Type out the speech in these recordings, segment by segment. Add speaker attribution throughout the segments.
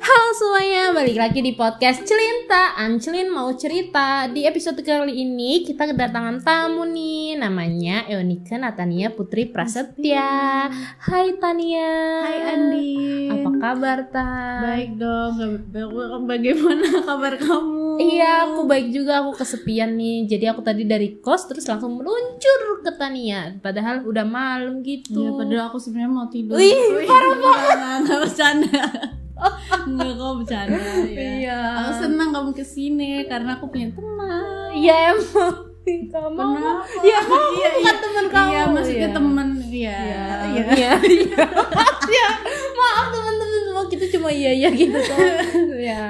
Speaker 1: Halo semuanya, balik lagi di podcast Celinta Ancelin mau cerita Di episode kali ini kita kedatangan tamu nih Namanya Eonika Natania Putri Prasetya Hai Tania
Speaker 2: Hai Andi.
Speaker 1: Ya. Apa kabar Tan?
Speaker 2: Baik dong. Gak- baga- Bagaimana kabar kamu?
Speaker 1: Iya, aku baik juga. Aku kesepian nih. Jadi aku tadi dari kos terus langsung meluncur ke Tania. Padahal udah malam gitu.
Speaker 2: Iya, padahal aku sebenarnya mau tidur.
Speaker 1: Wih,
Speaker 2: parah banget. Enggak bercanda. Enggak kok bercanda ya.
Speaker 1: Iya.
Speaker 2: Aku senang kamu kesini karena aku punya teman.
Speaker 1: Iya emang. Kamu
Speaker 2: Kenapa?
Speaker 1: Ya kamu
Speaker 2: Iya,
Speaker 1: bukan teman kamu.
Speaker 2: Iya, maksudnya
Speaker 1: Iya.
Speaker 2: teman. Iya.
Speaker 1: Iya. Iya. Iya. Maaf teman-teman semua kita cuma iya iya gitu kok. Iya.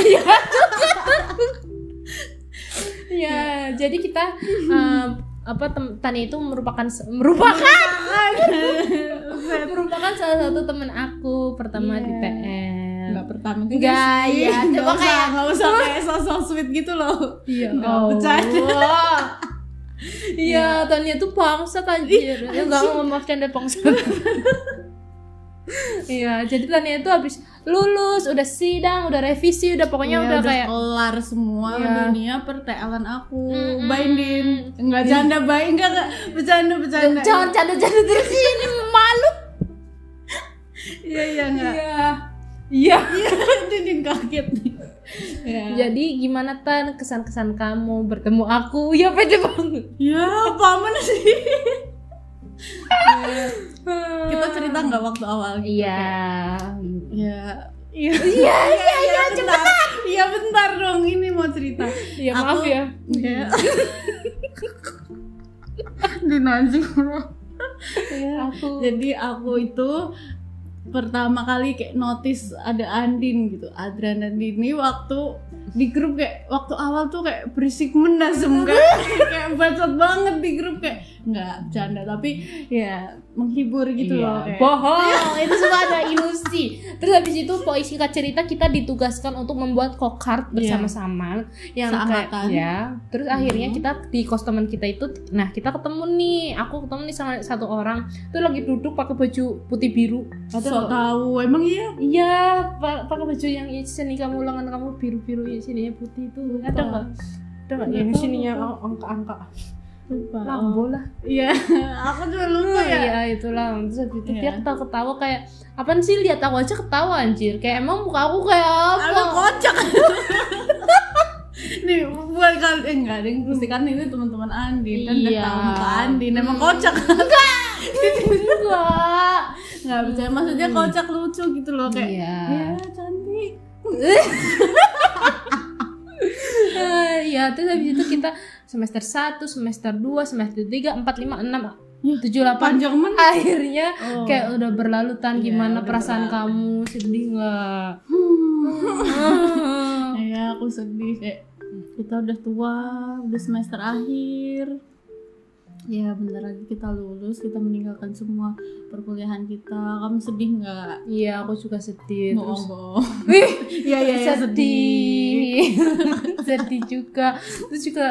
Speaker 2: Iya.
Speaker 1: Iya. Jadi kita eh, apa tem- Tania itu merupakan merupakan merupakan salah satu teman aku pertama di
Speaker 2: Iya.
Speaker 1: PN.
Speaker 2: Enggak pertama juga
Speaker 1: Enggak,
Speaker 2: sih.
Speaker 1: iya.
Speaker 2: Enggak
Speaker 1: Coba
Speaker 2: usah,
Speaker 1: kayak-
Speaker 2: enggak usah kayak sosok sweet gitu loh.
Speaker 1: Iya,
Speaker 2: Nggak bercanda.
Speaker 1: Allah. Iya, Tania tuh pangsa anjir. Ya enggak mau memaafkan dan pangsa. Iya, jadi Tania itu habis lulus, udah sidang, udah revisi, udah pokoknya
Speaker 2: Iya,
Speaker 1: udah, kayak
Speaker 2: kelar semua
Speaker 1: Iya.
Speaker 2: dunia pertelan aku
Speaker 1: Mm-mm.
Speaker 2: Bye, Din. enggak janda baik enggak enggak bercanda bercanda
Speaker 1: jangan canda-canda terus iya. ini malu.
Speaker 2: iya iya enggak
Speaker 1: Iya. Iya.
Speaker 2: Din kaget nih ya
Speaker 1: Jadi gimana Tan kesan-kesan kamu bertemu aku? Ya pede banget.
Speaker 2: ya paman sih Iya. kita cerita nggak waktu awal gitu
Speaker 1: Iya.
Speaker 2: ya iya iya iya iya bentar iya bentar dong ini mau cerita
Speaker 1: Iya, maaf
Speaker 2: Aku-
Speaker 1: ya.
Speaker 2: ya Din anjing Iya.
Speaker 1: Aku
Speaker 2: Jadi aku itu pertama kali kayak notice ada Andin gitu. Adrian dan Dini waktu di grup kayak waktu awal tuh kayak berisik mendasem kayak, kayak bacot banget di grup kayak nggak bercanda tapi ya menghibur gitu
Speaker 1: Iya,
Speaker 2: loh kayak.
Speaker 1: bohong itu semua ada ilusi terus habis itu pokoknya singkat cerita kita ditugaskan untuk membuat kokart bersama-sama yang kayak
Speaker 2: Seangkatan.
Speaker 1: ya terus akhirnya
Speaker 2: Mhm.
Speaker 1: kita di kos teman kita itu nah kita ketemu nih aku ketemu nih sama satu orang tuh lagi duduk pakai baju putih biru Ada
Speaker 2: so
Speaker 1: loh.
Speaker 2: tahu emang iya
Speaker 1: iya pa- pakai baju yang ya, sini kamu lengan kamu biru biru ya sininya putih itu ada nggak ada nggak
Speaker 2: Nggak
Speaker 1: yang
Speaker 2: tahu,
Speaker 1: sininya oh,
Speaker 2: lupa.
Speaker 1: angka angka
Speaker 2: lupa
Speaker 1: lambo lah
Speaker 2: iya aku juga lupa ya
Speaker 1: Iya itulah terus habis itu dia
Speaker 2: Iya.
Speaker 1: ketawa-ketawa kayak apaan sih lihat aku aja ketawa anjir kayak emang muka aku kayak apa?
Speaker 2: Aku kocak. Nih, buat kalian eh, enggak ada yang pasti kan ini teman-teman Andin kan udah
Speaker 1: Iya.
Speaker 2: tahu muka Andin emang
Speaker 1: Hmm.
Speaker 2: kocak.
Speaker 1: Enggak.
Speaker 2: Enggak percaya maksudnya kocak lucu gitu loh kayak.
Speaker 1: Iya.
Speaker 2: Ya, cantik.
Speaker 1: Eh, Iya terus habis itu kita semester 1, semester 2, semester 3, 4, 5, 6, 7, 8
Speaker 2: Iya. Panjang men.
Speaker 1: akhirnya
Speaker 2: Oh.
Speaker 1: kayak udah berlalu tan
Speaker 2: Iya,
Speaker 1: gimana
Speaker 2: udah
Speaker 1: perasaan
Speaker 2: berlalu.
Speaker 1: kamu sedih nggak?
Speaker 2: Hmm. Iya, aku sedih kayak kita udah tua, udah semester akhir. Ya, bentar lagi kita lulus, kita meninggalkan semua perkuliahan kita. Kamu sedih nggak?
Speaker 1: Iya aku juga sedih terus
Speaker 2: Bohong-bohong.
Speaker 1: Wih,
Speaker 2: Iya, iya, iya,
Speaker 1: sedih. sedih juga. Terus juga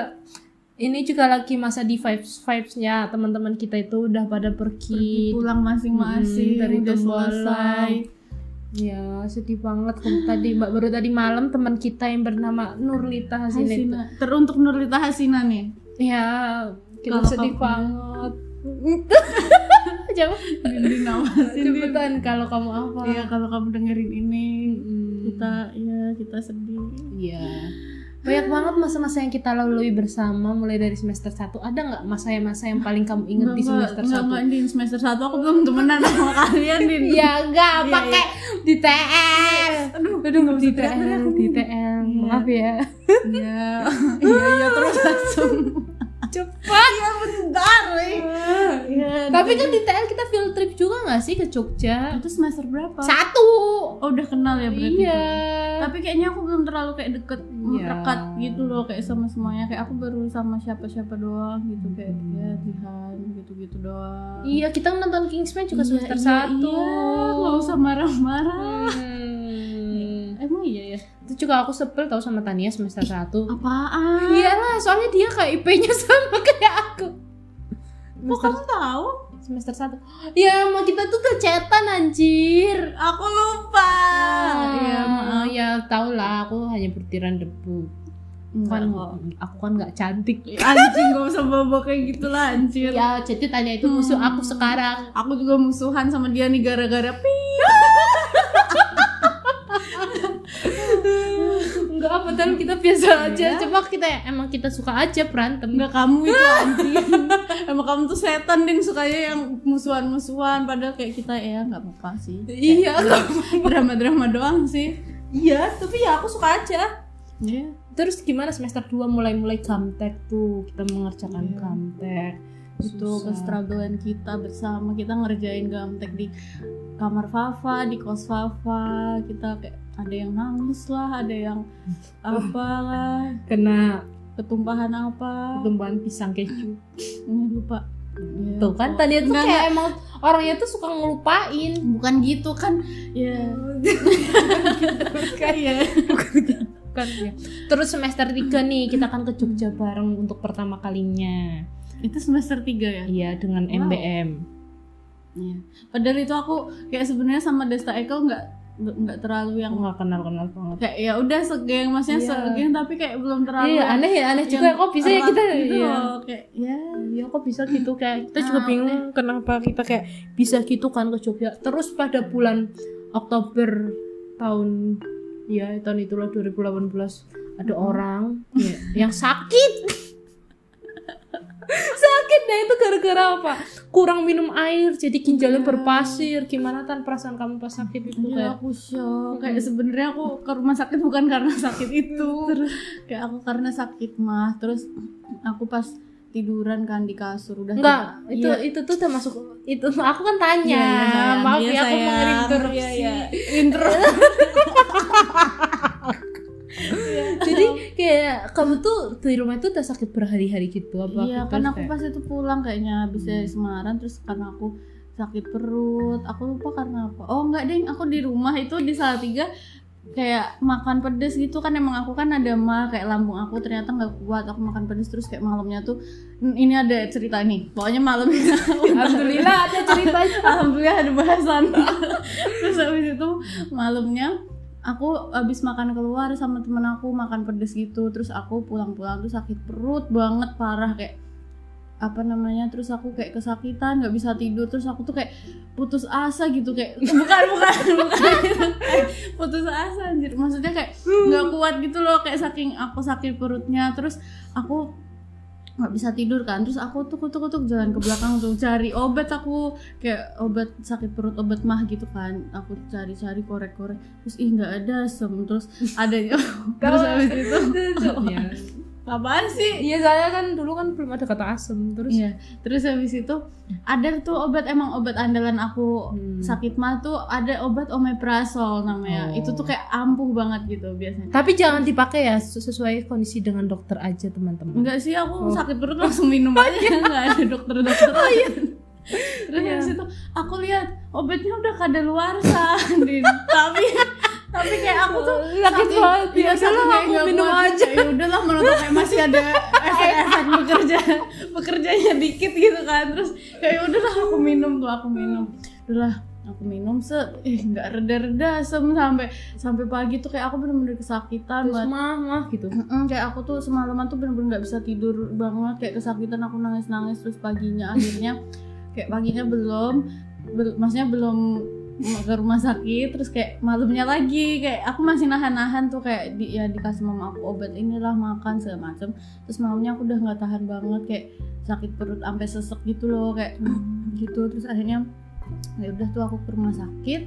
Speaker 1: ini juga lagi masa di vibes vibesnya teman-teman kita itu udah pada pergi.
Speaker 2: pergi pulang masing-masing
Speaker 1: Hmm, dari
Speaker 2: udah
Speaker 1: tembalang.
Speaker 2: selesai
Speaker 1: Ya sedih banget. Kamu tadi mbak baru tadi malam teman kita yang bernama Nurlita Hasina. itu-
Speaker 2: Hasina teruntuk Nurlita Hasina nih
Speaker 1: Ya kita
Speaker 2: Kalau
Speaker 1: sedih
Speaker 2: kamu-
Speaker 1: banget. Jangan
Speaker 2: Dinding nama Hasina
Speaker 1: cepetan kalau kamu apa?
Speaker 2: Iya kalau kamu dengerin ini
Speaker 1: Mm.
Speaker 2: kita ya kita sedih
Speaker 1: Iya. Banyak banget masa-masa yang kita lalui bersama mulai dari semester 1. Ada nggak masa-masa yang paling kamu ingat di semester
Speaker 2: enggak,
Speaker 1: 1?
Speaker 2: enggak, di semester 1 aku belum temenan sama kalian Din
Speaker 1: Iya, enggak
Speaker 2: Iya,
Speaker 1: pakai di TL.
Speaker 2: aduh
Speaker 1: Aduh, di
Speaker 2: teriak,
Speaker 1: TL,
Speaker 2: teriak.
Speaker 1: di TL.
Speaker 2: Iya.
Speaker 1: Maaf ya.
Speaker 2: iya iya iya terus langsung
Speaker 1: Cepat.
Speaker 2: iya bentar weh. iya
Speaker 1: Tapi kan di TL kita field trip juga nggak sih ke Jogja?
Speaker 2: itu semester berapa
Speaker 1: Satu.
Speaker 2: oh udah kenal ya berarti
Speaker 1: Iya.
Speaker 2: tapi kayaknya aku belum terlalu kayak deket
Speaker 1: Iya.
Speaker 2: dekat gitu loh kayak sama semuanya kayak aku baru sama siapa siapa doang gitu kayak ya Jihan gitu gitu doang
Speaker 1: Iya, kita nonton Kingsman juga
Speaker 2: Iya,
Speaker 1: semester
Speaker 2: iya,
Speaker 1: 1.
Speaker 2: iya. nggak usah marah-marah
Speaker 1: Hmm.
Speaker 2: emang iya ya
Speaker 1: Itu juga aku sebel tau sama Tania semester 1.
Speaker 2: apaan
Speaker 1: Iyalah, soalnya dia kayak IP-nya sama kayak aku.
Speaker 2: kok kamu tahu
Speaker 1: Semester 1. Ya, sama kita tuh kecetan anjir.
Speaker 2: aku lupa
Speaker 1: Ah,
Speaker 2: Iya, maaf
Speaker 1: ya tau lah aku hanya butiran debu
Speaker 2: Enggak
Speaker 1: kan
Speaker 2: kok.
Speaker 1: aku kan nggak cantik
Speaker 2: anjing gak usah bawa kayak gitu lah anjir
Speaker 1: ya jadi tanya itu musuh
Speaker 2: Hmm.
Speaker 1: aku sekarang
Speaker 2: aku juga musuhan sama dia nih gara-gara pi
Speaker 1: enggak apa dan kita biasa aja
Speaker 2: Iya.
Speaker 1: cuma kita emang kita suka aja berantem
Speaker 2: Enggak kamu itu anjing Emang kamu tuh setan ding sukanya yang musuhan-musuhan Padahal kayak kita ya nggak apa-apa sih
Speaker 1: iya
Speaker 2: Drama-drama doang sih
Speaker 1: iya tapi ya aku suka aja
Speaker 2: Iya
Speaker 1: terus gimana semester 2 mulai-mulai gamtek tuh kita mengerjakan
Speaker 2: Iya.
Speaker 1: gamtek
Speaker 2: Itu
Speaker 1: Hmm. Susah.
Speaker 2: kestruggle-an kita bersama Kita ngerjain gamtek di kamar Fafa, di kos Fafa Kita kayak ada yang nangis lah, ada yang apalah
Speaker 1: kena
Speaker 2: Ketumpahan apa
Speaker 1: tumbuhan pisang gitu. keju
Speaker 2: Ini lupa Iya.
Speaker 1: tuh kan tadi itu
Speaker 2: Enggak,
Speaker 1: kayak emang orangnya tuh suka ngelupain
Speaker 2: Bukan gitu kan Ya
Speaker 1: Iya. Kayak
Speaker 2: Iya.
Speaker 1: kan ya. Terus semester 3 nih kita akan ke Jogja bareng untuk pertama kalinya.
Speaker 2: Itu semester 3 ya?
Speaker 1: Iya dengan
Speaker 2: Wow.
Speaker 1: MBM.
Speaker 2: Iya. Padahal itu aku kayak sebenarnya sama Desta Ekel nggak nggak terlalu yang
Speaker 1: Aku nggak kenal-kenal banget.
Speaker 2: kayak ya udah segeng maksudnya
Speaker 1: Iya.
Speaker 2: segeng tapi kayak belum terlalu
Speaker 1: Iya
Speaker 2: yang-
Speaker 1: aneh ya aneh
Speaker 2: yang
Speaker 1: juga kok bisa ya
Speaker 2: erat
Speaker 1: kita
Speaker 2: gitu
Speaker 1: iya.
Speaker 2: loh, kayak ya
Speaker 1: Iya kok bisa gitu kayak kita juga
Speaker 2: Ah,
Speaker 1: bingung kenapa kita kayak bisa gitu kan ke Jogja. Terus pada bulan Oktober tahun ya tahun itulah 2018 ada
Speaker 2: Mm-mm.
Speaker 1: orang ya, yang sakit. sakit nah itu gara-gara apa? Kurang minum air jadi ginjalnya
Speaker 2: Iya.
Speaker 1: berpasir. Gimana tan perasaan kamu pas sakit itu
Speaker 2: Iya,
Speaker 1: kayak?
Speaker 2: aku shock kayak sebenarnya aku ke rumah sakit bukan karena sakit itu terus kayak aku karena sakit mah terus aku pas tiduran kan di kasur udah
Speaker 1: Enggak,
Speaker 2: tidur-
Speaker 1: itu
Speaker 2: Iya.
Speaker 1: itu tuh termasuk itu aku kan tanya.
Speaker 2: Iya, iya, sayang.
Speaker 1: Maaf
Speaker 2: Iya,
Speaker 1: ya aku mau
Speaker 2: sayang.
Speaker 1: interupsi.
Speaker 2: Iya, iya. intro
Speaker 1: Iya, Jadi kayak kamu tuh di rumah itu udah sakit berhari-hari gitu apa?
Speaker 2: Iya,
Speaker 1: gitu,
Speaker 2: karena aku
Speaker 1: kayak- Hmm.
Speaker 2: pas itu pulang kayaknya habis dari Semarang terus karena aku sakit perut, aku lupa karena apa. Oh, enggak, Deng, aku di rumah itu di Salatiga kayak makan pedes gitu kan emang aku kan ada mah kayak lambung aku ternyata nggak kuat aku makan pedes terus kayak malamnya tuh ini ada cerita nih pokoknya malam
Speaker 1: Alhamdulillah ada ceritanya.
Speaker 2: Alhamdulillah ada bahasan. Terus habis itu malamnya aku habis makan keluar sama temen aku makan pedes gitu. Terus aku pulang-pulang tuh sakit perut banget parah kayak apa namanya terus aku kayak kesakitan nggak bisa tidur terus aku tuh kayak putus asa gitu kayak bukan bukan bukan putus asa anjir maksudnya kayak nggak kuat gitu loh kayak saking aku sakit perutnya terus aku nggak bisa tidur kan terus aku tuh kutuk kutuk jalan ke belakang tuh cari obat aku kayak obat sakit perut obat mah gitu kan aku cari cari korek korek terus ih nggak ada sem terus ada terus habis itu
Speaker 1: Iya.
Speaker 2: apaan sih
Speaker 1: Iya soalnya kan dulu kan belum ada kata asem terus.
Speaker 2: Iya, terus habis itu ada tuh obat emang obat andalan aku
Speaker 1: Hmm.
Speaker 2: sakit mah tuh ada obat omeprazol namanya.
Speaker 1: Oh.
Speaker 2: Itu tuh kayak ampuh banget gitu biasanya.
Speaker 1: Tapi jangan dipakai ya sesu- sesuai kondisi dengan dokter aja teman-teman.
Speaker 2: Enggak sih,
Speaker 1: Oh.
Speaker 2: aku sakit perut langsung minum aja, enggak ada dokter-dokter. Oh iya. Terus
Speaker 1: Iya.
Speaker 2: habis itu aku lihat obatnya udah kadaluarsa, Din. tapi tapi kayak aku tuh
Speaker 1: sakit banget.
Speaker 2: Iya,
Speaker 1: Ya
Speaker 2: saking
Speaker 1: udahlah
Speaker 2: kayak
Speaker 1: aku
Speaker 2: nggak
Speaker 1: minum
Speaker 2: kuat.
Speaker 1: aja.
Speaker 2: Ya udahlah menurut kayak masih ada efek-efek bekerja bekerjanya dikit gitu kan. Terus kayak udahlah aku minum tuh, aku minum. Udahlah aku minum se eh nggak reda-reda sem sampai sampai pagi tuh kayak aku bener-bener kesakitan
Speaker 1: Terus
Speaker 2: banget.
Speaker 1: mah mah gitu.
Speaker 2: Mm-mm, kayak aku tuh semalaman tuh bener-bener nggak bisa tidur banget kayak kesakitan aku nangis-nangis terus paginya akhirnya kayak paginya belum bel- maksudnya belum ke rumah sakit terus kayak malamnya lagi kayak aku masih nahan-nahan tuh kayak di, ya dikasih mama aku obat inilah makan segala macem terus malamnya aku udah nggak tahan banget kayak sakit perut sampai sesek gitu loh kayak gitu terus akhirnya ya udah tuh aku ke rumah sakit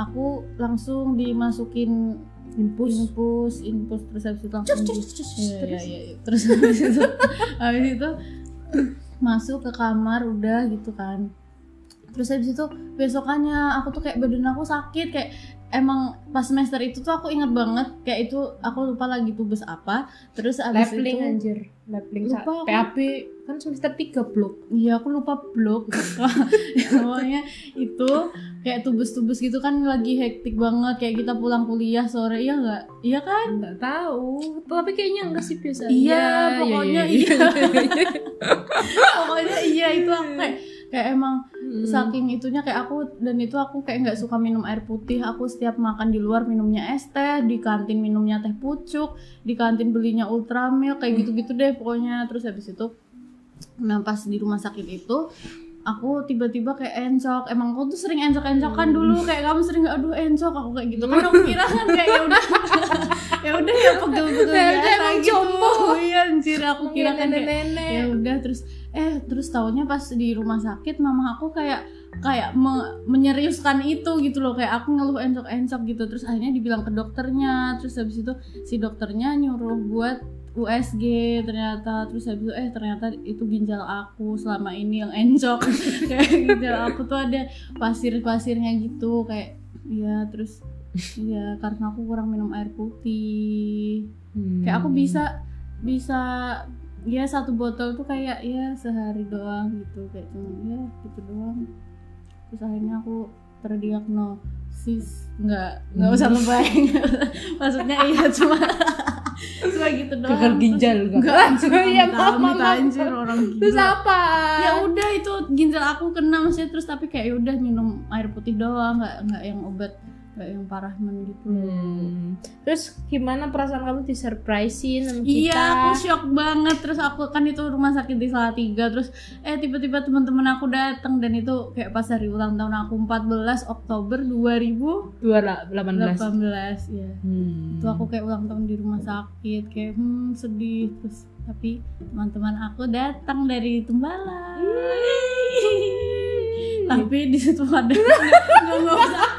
Speaker 2: aku langsung dimasukin
Speaker 1: Impus.
Speaker 2: infus infus terus habis itu langsung
Speaker 1: Cus cus cus cus.
Speaker 2: Iya,
Speaker 1: Terus.
Speaker 2: iya, iya. terus habis itu habis itu masuk ke kamar udah gitu kan terus habis itu besokannya aku tuh kayak badan aku sakit kayak emang pas semester itu tuh aku inget banget kayak itu aku lupa lagi tubes apa terus habis
Speaker 1: Lapling
Speaker 2: itu
Speaker 1: anjir. Lapling sa-
Speaker 2: Lupa aku.
Speaker 1: PAB kan semester 3 blok.
Speaker 2: Iya aku lupa blok Pokoknya itu kayak tubes-tubes gitu kan lagi hektik banget Kayak kita pulang kuliah sore, iya nggak? Iya kan?
Speaker 1: Enggak tahu. Tapi kayaknya enggak sih biasa.
Speaker 2: Iya, pokoknya iya.
Speaker 1: iya.
Speaker 2: Pokoknya iya itu aku kayak, kayak emang
Speaker 1: Mm-mm.
Speaker 2: saking itunya kayak aku dan itu aku kayak nggak suka minum air putih aku setiap makan di luar minumnya es teh di kantin minumnya teh pucuk di kantin belinya ultramil
Speaker 1: Hmm.
Speaker 2: kayak gitu-gitu deh pokoknya terus habis itu nah pas di rumah sakit itu aku tiba-tiba kayak encok emang aku tuh sering
Speaker 1: Hmm.
Speaker 2: encok-encokan dulu kayak kamu sering aduh encok aku kayak gitu kan aku kira kan kayak ya udah ya udah ya
Speaker 1: Ya
Speaker 2: pegel-pegel
Speaker 1: udah,
Speaker 2: biasa
Speaker 1: emang
Speaker 2: gitu
Speaker 1: jompo.
Speaker 2: iya anjir aku kira kan kayak ya
Speaker 1: nenek-nenek.
Speaker 2: udah terus eh terus taunya pas di rumah sakit mama aku kayak kayak me- menyeriuskan itu gitu loh kayak aku ngeluh encok-encok gitu terus akhirnya dibilang ke dokternya terus habis itu si dokternya nyuruh buat USG ternyata terus habis itu eh ternyata itu ginjal aku selama ini yang encok kayak ginjal aku tuh ada pasir-pasirnya gitu kayak iya terus iya karena aku kurang minum air putih kayak
Speaker 1: Hmm.
Speaker 2: aku bisa bisa ya satu botol tuh kayak ya sehari doang gitu kayak cuma ya gitu doang terus akhirnya aku terdiagnosis nggak nggak usah
Speaker 1: Hmm.
Speaker 2: lebay maksudnya iya cuma cuma gitu doang
Speaker 1: gagal ginjal
Speaker 2: Nggak, anjir,
Speaker 1: Iya,
Speaker 2: amit-amit,
Speaker 1: maaf, maaf,
Speaker 2: anjir
Speaker 1: maaf.
Speaker 2: orang gila
Speaker 1: Terus apa?
Speaker 2: ya udah itu ginjal aku kena maksudnya terus tapi kayak ya udah minum air putih doang nggak nggak yang obat nggak yang parah gitu
Speaker 1: Hmm. Terus gimana perasaan kamu disurprisein sama kita?
Speaker 2: Iya, aku shock banget. Terus aku kan itu rumah sakit di Salatiga. Terus eh tiba-tiba teman-teman aku datang dan itu kayak pas hari ulang tahun aku 14 Oktober 2018.
Speaker 1: 2018.
Speaker 2: Iya.
Speaker 1: Hmm.
Speaker 2: Itu aku kayak ulang tahun di rumah sakit, kayak hmm sedih. Terus tapi teman-teman aku datang dari Tembala. tapi di situ ada nggak nggak usah,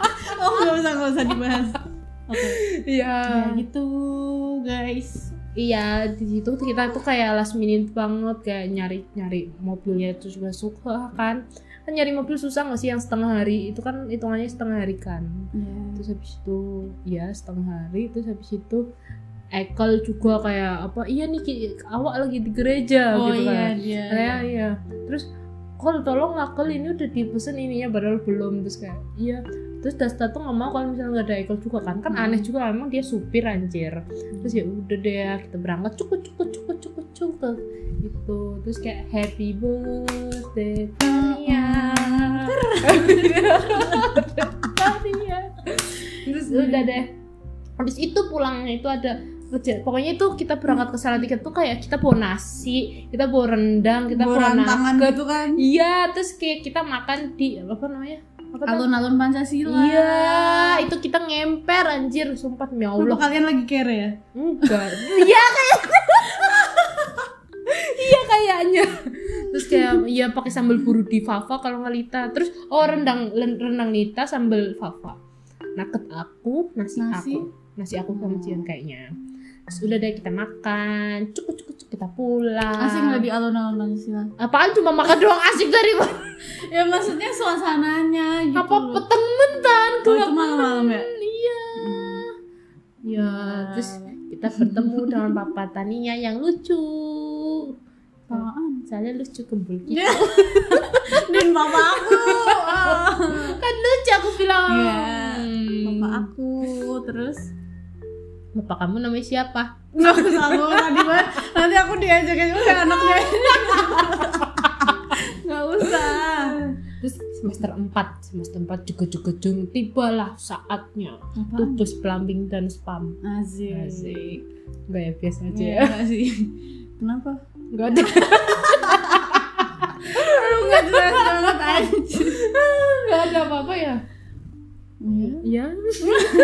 Speaker 2: oh nggak usah nggak usah dibahas. Oke,
Speaker 1: Iya.
Speaker 2: ya gitu guys.
Speaker 1: Iya, di situ tuh kita tuh kayak last minute banget kayak nyari-nyari mobilnya itu juga suka kan. Kan nyari mobil susah nggak sih yang setengah hari? Itu kan hitungannya setengah hari kan.
Speaker 2: Ya.
Speaker 1: Terus habis itu ya setengah hari terus habis itu Ekel juga kayak apa? Iya nih Ki, awak lagi di gereja
Speaker 2: Oh
Speaker 1: gitu
Speaker 2: iya
Speaker 1: kan.
Speaker 2: dia.
Speaker 1: Iya, iya. Terus kol tolong Ekel ini udah dipesen ininya padahal belum terus kayak iya terus Dasta tuh nggak mau kalau misalnya nggak ada Ekel juga kan kan
Speaker 2: Hmm.
Speaker 1: aneh juga emang dia supir anjir terus ya udah deh kita berangkat cukup cukup cukup cukup cukup gitu terus kayak happy birthday
Speaker 2: Hmm,
Speaker 1: Tania
Speaker 2: iya.
Speaker 1: Tania terus Ya udah
Speaker 2: Hmm.
Speaker 1: deh habis itu pulangnya itu ada kerja pokoknya itu kita berangkat ke Salatiga tuh kayak kita bawa nasi kita bawa rendang kita bawa
Speaker 2: tangan
Speaker 1: nugget
Speaker 2: gitu kan
Speaker 1: iya terus kayak kita makan di apa namanya apa tuh?
Speaker 2: alun-alun Pancasila
Speaker 1: Iya,
Speaker 2: ya
Speaker 1: itu kita ngemper anjir, sumpah demi
Speaker 2: Kenapa
Speaker 1: Allah.
Speaker 2: kalian lagi kere ya?
Speaker 1: Enggak. Iya kayak Iya kayaknya. Terus kayak ya pakai sambal burudi Fafa kalau nggak Lita. Terus oh rendang len- rendang Lita sambal Fafa. Naket aku, nasi,
Speaker 2: Nasi? Oh.
Speaker 1: aku. Nasi aku sama Cian kayaknya. Terus udah deh kita makan, cukup cukup cukup kita pulang.
Speaker 2: Asik nggak di alun-alun Pancasila?
Speaker 1: Apaan cuma makan doang asik dari mana?
Speaker 2: Ya maksudnya suasananya gitu
Speaker 1: Apa
Speaker 2: loh.
Speaker 1: temen kan?
Speaker 2: Oh, itu malam-malam ya?
Speaker 1: Iya.
Speaker 2: Hmm.
Speaker 1: Ya,
Speaker 2: Eh,
Speaker 1: terus kita bertemu dengan Papa Tania yang lucu.
Speaker 2: Apaan?
Speaker 1: Saya lucu gembul gitu.
Speaker 2: Ya. Dan bapak aku Ah.
Speaker 1: Kan lucu aku bilang.
Speaker 2: Iya.
Speaker 1: Hmm.
Speaker 2: Bapak aku Terus
Speaker 1: Bapak kamu namanya siapa?
Speaker 2: Nggak usah aku tadi Mbak. Nanti aku diajak aja Udah anaknya Nggak usah
Speaker 1: Terus semester 4, semester 4 juga juga jung tibalah saatnya. Tubus plumbing dan spam.
Speaker 2: Asik
Speaker 1: Iya. Asik. Enggak ya biasa aja
Speaker 2: Iya,
Speaker 1: ya.
Speaker 2: nggak sih Kenapa?
Speaker 1: Enggak ada.
Speaker 2: Lu nggak jelas banget aja.
Speaker 1: Enggak ada apa-apa ya? Iya.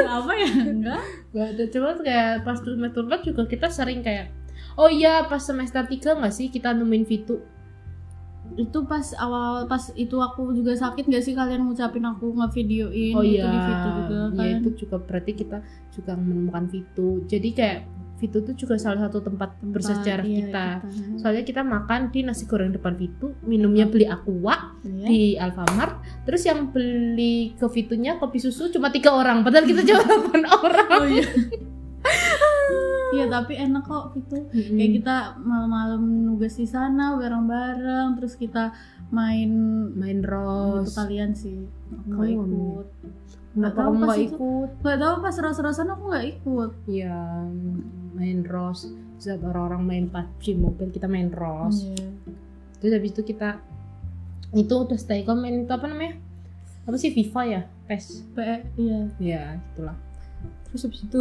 Speaker 2: Apa ya? Enggak.
Speaker 1: Gak ada cuma kayak pas semester 4 juga kita sering kayak Oh iya pas semester 3 gak sih kita nemuin Vitu
Speaker 2: Itu pas awal pas itu aku juga sakit nggak sih kalian ngucapin aku ngevideoin
Speaker 1: Oh
Speaker 2: gitu
Speaker 1: iya
Speaker 2: di situ juga kan?
Speaker 1: Iya,
Speaker 2: kalian.
Speaker 1: itu juga berarti kita juga menemukan Vitu Jadi kayak Vitu tuh juga salah satu tempat, bersejarah
Speaker 2: Iya,
Speaker 1: kita Soalnya kita makan di nasi goreng depan Vitu Minumnya beli aqua
Speaker 2: Iya.
Speaker 1: di Alfamart Terus yang beli ke Vitunya kopi susu cuma tiga orang Padahal kita cuma 8 orang
Speaker 2: Oh iya. Iya tapi enak kok gitu.
Speaker 1: Hmm.
Speaker 2: Kayak kita malam-malam nugas di sana bareng-bareng terus kita main
Speaker 1: main
Speaker 2: itu
Speaker 1: ros
Speaker 2: kalian sih. Aku nggak
Speaker 1: Kamu
Speaker 2: ikut.
Speaker 1: Kenapa
Speaker 2: tahu
Speaker 1: kamu
Speaker 2: pas
Speaker 1: gak
Speaker 2: itu.
Speaker 1: ikut?
Speaker 2: Gak tahu pas ros-rosan aku nggak ikut.
Speaker 1: yang main ROS terus
Speaker 2: Mm.
Speaker 1: ada orang-orang main PUBG mobile kita main ROS
Speaker 2: Iya.
Speaker 1: terus habis itu kita itu udah stay komen itu apa namanya apa sih FIFA ya PES
Speaker 2: P- iya.
Speaker 1: ya gitulah terus habis itu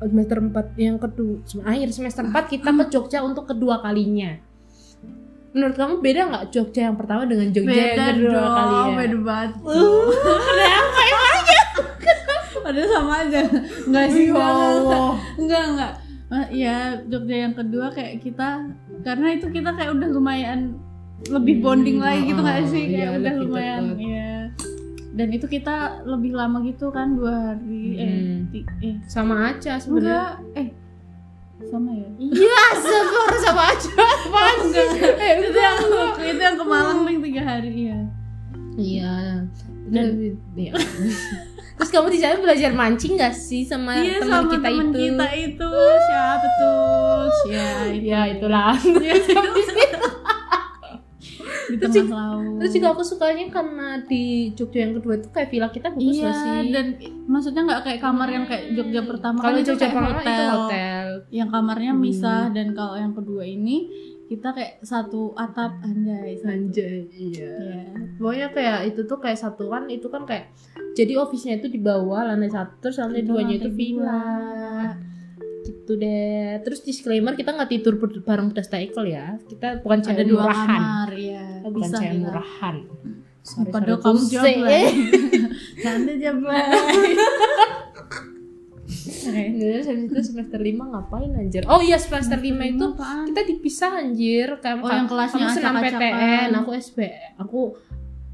Speaker 1: Oh, semester 4 yang kedua sem- akhir semester 4 kita ke Jogja untuk kedua kalinya menurut kamu beda nggak Jogja yang pertama dengan Jogja yang
Speaker 2: Beda
Speaker 1: kedua
Speaker 2: dong,
Speaker 1: kalinya
Speaker 2: beda banget.
Speaker 1: Uh, kenapa
Speaker 2: Padahal sama aja. Enggak sih,
Speaker 1: ya Allah.
Speaker 2: Enggak, enggak. Eh, Ya, Jogja yang kedua kayak kita karena itu kita kayak udah lumayan lebih bonding
Speaker 1: Hmm,
Speaker 2: lagi gitu
Speaker 1: oh,
Speaker 2: nggak sih?
Speaker 1: iya,
Speaker 2: Kayak udah
Speaker 1: lebih
Speaker 2: lumayan
Speaker 1: dekat.
Speaker 2: ya. Dan itu kita lebih lama gitu kan dua hari
Speaker 1: Hmm.
Speaker 2: eh, ti- eh
Speaker 1: sama aja sebenarnya
Speaker 2: enggak eh sama ya.
Speaker 1: iya syukur sama aja apa
Speaker 2: enggak.
Speaker 1: Eh,
Speaker 2: itu yang itu yang ke Malang paling tiga hari ya.
Speaker 1: iya dan iya. terus kamu di sana belajar mancing nggak sih sama
Speaker 2: Iya
Speaker 1: teman
Speaker 2: sama
Speaker 1: kita
Speaker 2: teman
Speaker 1: itu
Speaker 2: kita itu siapa tuh? Ya, itu.
Speaker 1: ya itulah
Speaker 2: Iya, itu. di
Speaker 1: Terus
Speaker 2: tengah laut. Iya,
Speaker 1: Terus juga aku sukanya karena di Jogja yang kedua itu kayak villa kita bagus
Speaker 2: Iya,
Speaker 1: gak sih?
Speaker 2: dan maksudnya nggak kayak kamar yang kayak Jogja pertama
Speaker 1: Hmm. Kalau
Speaker 2: kan itu
Speaker 1: Jogja
Speaker 2: kayak
Speaker 1: pertama itu hotel.
Speaker 2: Yang kamarnya
Speaker 1: Hmm.
Speaker 2: misah dan kalau yang kedua ini kita kayak satu atap anjay. satu.
Speaker 1: Anjay, iya.
Speaker 2: Iya.
Speaker 1: Pokoknya kayak itu tuh kayak satuan itu kan kayak jadi office-nya itu di bawah lantai satu terus lantai
Speaker 2: Itu
Speaker 1: duanya
Speaker 2: lantai
Speaker 1: itu villa. Gitu deh. Terus disclaimer kita nggak tidur ber- bareng pedas taikol ya. Kita bukan
Speaker 2: Ada
Speaker 1: cewek
Speaker 2: dua
Speaker 1: murahan.
Speaker 2: kamar ya.
Speaker 1: Kita bukan
Speaker 2: Bisa
Speaker 1: cewek
Speaker 2: kita.
Speaker 1: murahan. Sorry,
Speaker 2: Pada
Speaker 1: sorry,
Speaker 2: kamu
Speaker 1: Buse.
Speaker 2: jablay. Anda jablay.
Speaker 1: Eh, Terus habis itu semester 5 ngapain anjir? Oh iya semester 5 itu
Speaker 2: Apaan?
Speaker 1: kita dipisah anjir kamu
Speaker 2: Oh, yang kelasnya
Speaker 1: kamu senam
Speaker 2: acak-acakan.
Speaker 1: PTN aku SB aku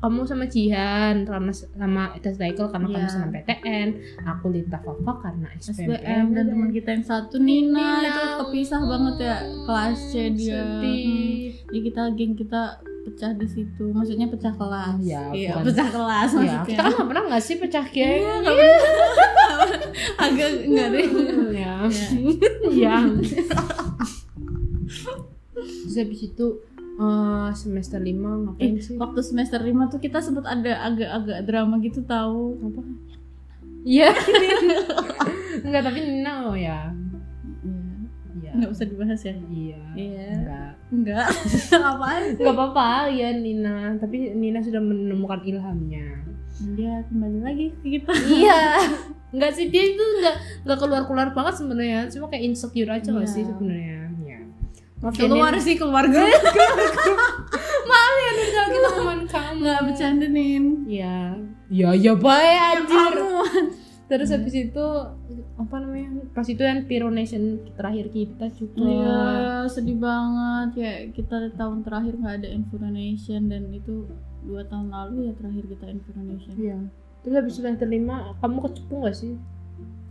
Speaker 1: kamu sama Jihan sama sama Etas Daikol karena kamu
Speaker 2: Iya.
Speaker 1: senam PTN aku Linta Fafa karena
Speaker 2: SBM
Speaker 1: SPM
Speaker 2: dan teman kita yang satu Nina,
Speaker 1: Nina.
Speaker 2: itu kepisah banget ya kelas C dia. Hmm.
Speaker 1: sedih
Speaker 2: Jadi kita geng kita pecah di situ, maksudnya pecah kelas.
Speaker 1: Iya,
Speaker 2: Iya,
Speaker 1: bukan-
Speaker 2: pecah kelas
Speaker 1: ya,
Speaker 2: maksudnya.
Speaker 1: kita kan nggak pernah nggak sih pecah geng
Speaker 2: Iya, nggak Agak enggak deh.
Speaker 1: ya
Speaker 2: Iya.
Speaker 1: ya terus habis itu eh, semester 5 ngapain sih
Speaker 2: Eh, Waktu semester 5 tuh kita sempat ada agak-agak drama gitu tahu.
Speaker 1: apa Iya, enggak tapi Nina oh ya. Iya.
Speaker 2: Enggak usah dibahas ya.
Speaker 1: Iya.
Speaker 2: Iya.
Speaker 1: Enggak.
Speaker 2: Enggak. Apaan?
Speaker 1: Enggak apa-apa ya Nina, tapi Nina sudah menemukan ilhamnya.
Speaker 2: Dia Iya, kembali lagi ke kita.
Speaker 1: iya. Enggak sih dia itu enggak enggak keluar-keluar banget sebenarnya, cuma kayak insecure aja enggak
Speaker 2: Iya.
Speaker 1: sih sebenarnya. Iya. Maaf ya,
Speaker 2: Keluar
Speaker 1: Nin.
Speaker 2: sih keluar gue.
Speaker 1: Maaf ya Nin kalau kita teman kamu.
Speaker 2: Enggak bercanda Nin.
Speaker 1: Iya. Ya ya baik anjir.
Speaker 2: Kamu.
Speaker 1: Terus habis itu apa namanya? Pas itu kan Piro Nation terakhir kita juga.
Speaker 2: Iya, sedih banget ya kita tahun terakhir nggak ada Inforonation dan itu dua tahun lalu ya terakhir kita Inforonation.
Speaker 1: Iya. Terus habis semester lima, kamu kecepu gak sih?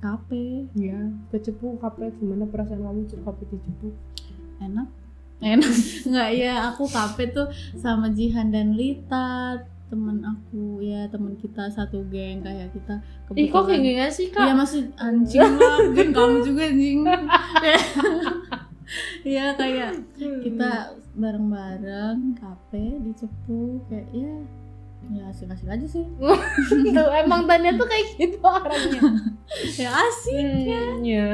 Speaker 2: Kape,
Speaker 1: Iya. Kecepu, kape, gimana perasaan kamu kape kecepu?
Speaker 2: enak. Enak. Nggak ya, aku kape tuh sama Jihan dan Lita temen aku ya temen kita satu geng kayak kita
Speaker 1: Ih kok kayak gini
Speaker 2: kebetulan-
Speaker 1: sih
Speaker 2: Iya
Speaker 1: kak?
Speaker 2: maksud anjing lah, mungkin kamu juga anjing. Iya kayak kita bareng-bareng kafe di Cepu kayak ya ya asik-asik aja sih Hmm.
Speaker 1: tuh emang tanya tuh kayak gitu orangnya.
Speaker 2: ya asik
Speaker 1: Hmm, Iya,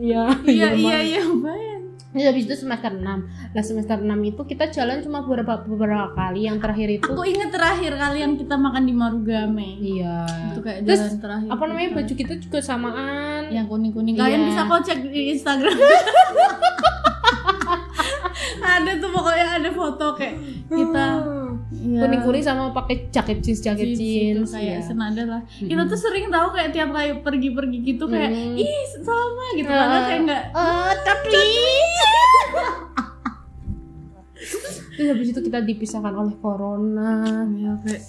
Speaker 1: iya,
Speaker 2: iya iya
Speaker 1: Bang.
Speaker 2: iya banget
Speaker 1: Terus habis itu semester 6 Nah semester 6 itu kita jalan cuma beberapa beberapa kali Yang terakhir itu
Speaker 2: aku inget terakhir kali yang kita makan di Marugame
Speaker 1: Iya
Speaker 2: itu kayak
Speaker 1: Terus,
Speaker 2: jalan terakhir
Speaker 1: Apa namanya
Speaker 2: kita.
Speaker 1: baju kita juga samaan
Speaker 2: yang kuning kuning
Speaker 1: Iya.
Speaker 2: kalian bisa kok cek di Instagram ada tuh pokoknya ada foto kayak kita ya,
Speaker 1: kuning kuning sama pakai jaket jeans jaket
Speaker 2: jeans gitu,
Speaker 1: jeans,
Speaker 2: kayak
Speaker 1: iya.
Speaker 2: senada lah
Speaker 1: Mm-mm.
Speaker 2: kita tuh sering tahu kayak tiap kali pergi-pergi gitu kayak
Speaker 1: Hmm.
Speaker 2: ih sama gitu padahal kayak nggak
Speaker 1: Oh, tapi. Terus habis itu kita dipisahkan oleh corona.
Speaker 2: Ya kayak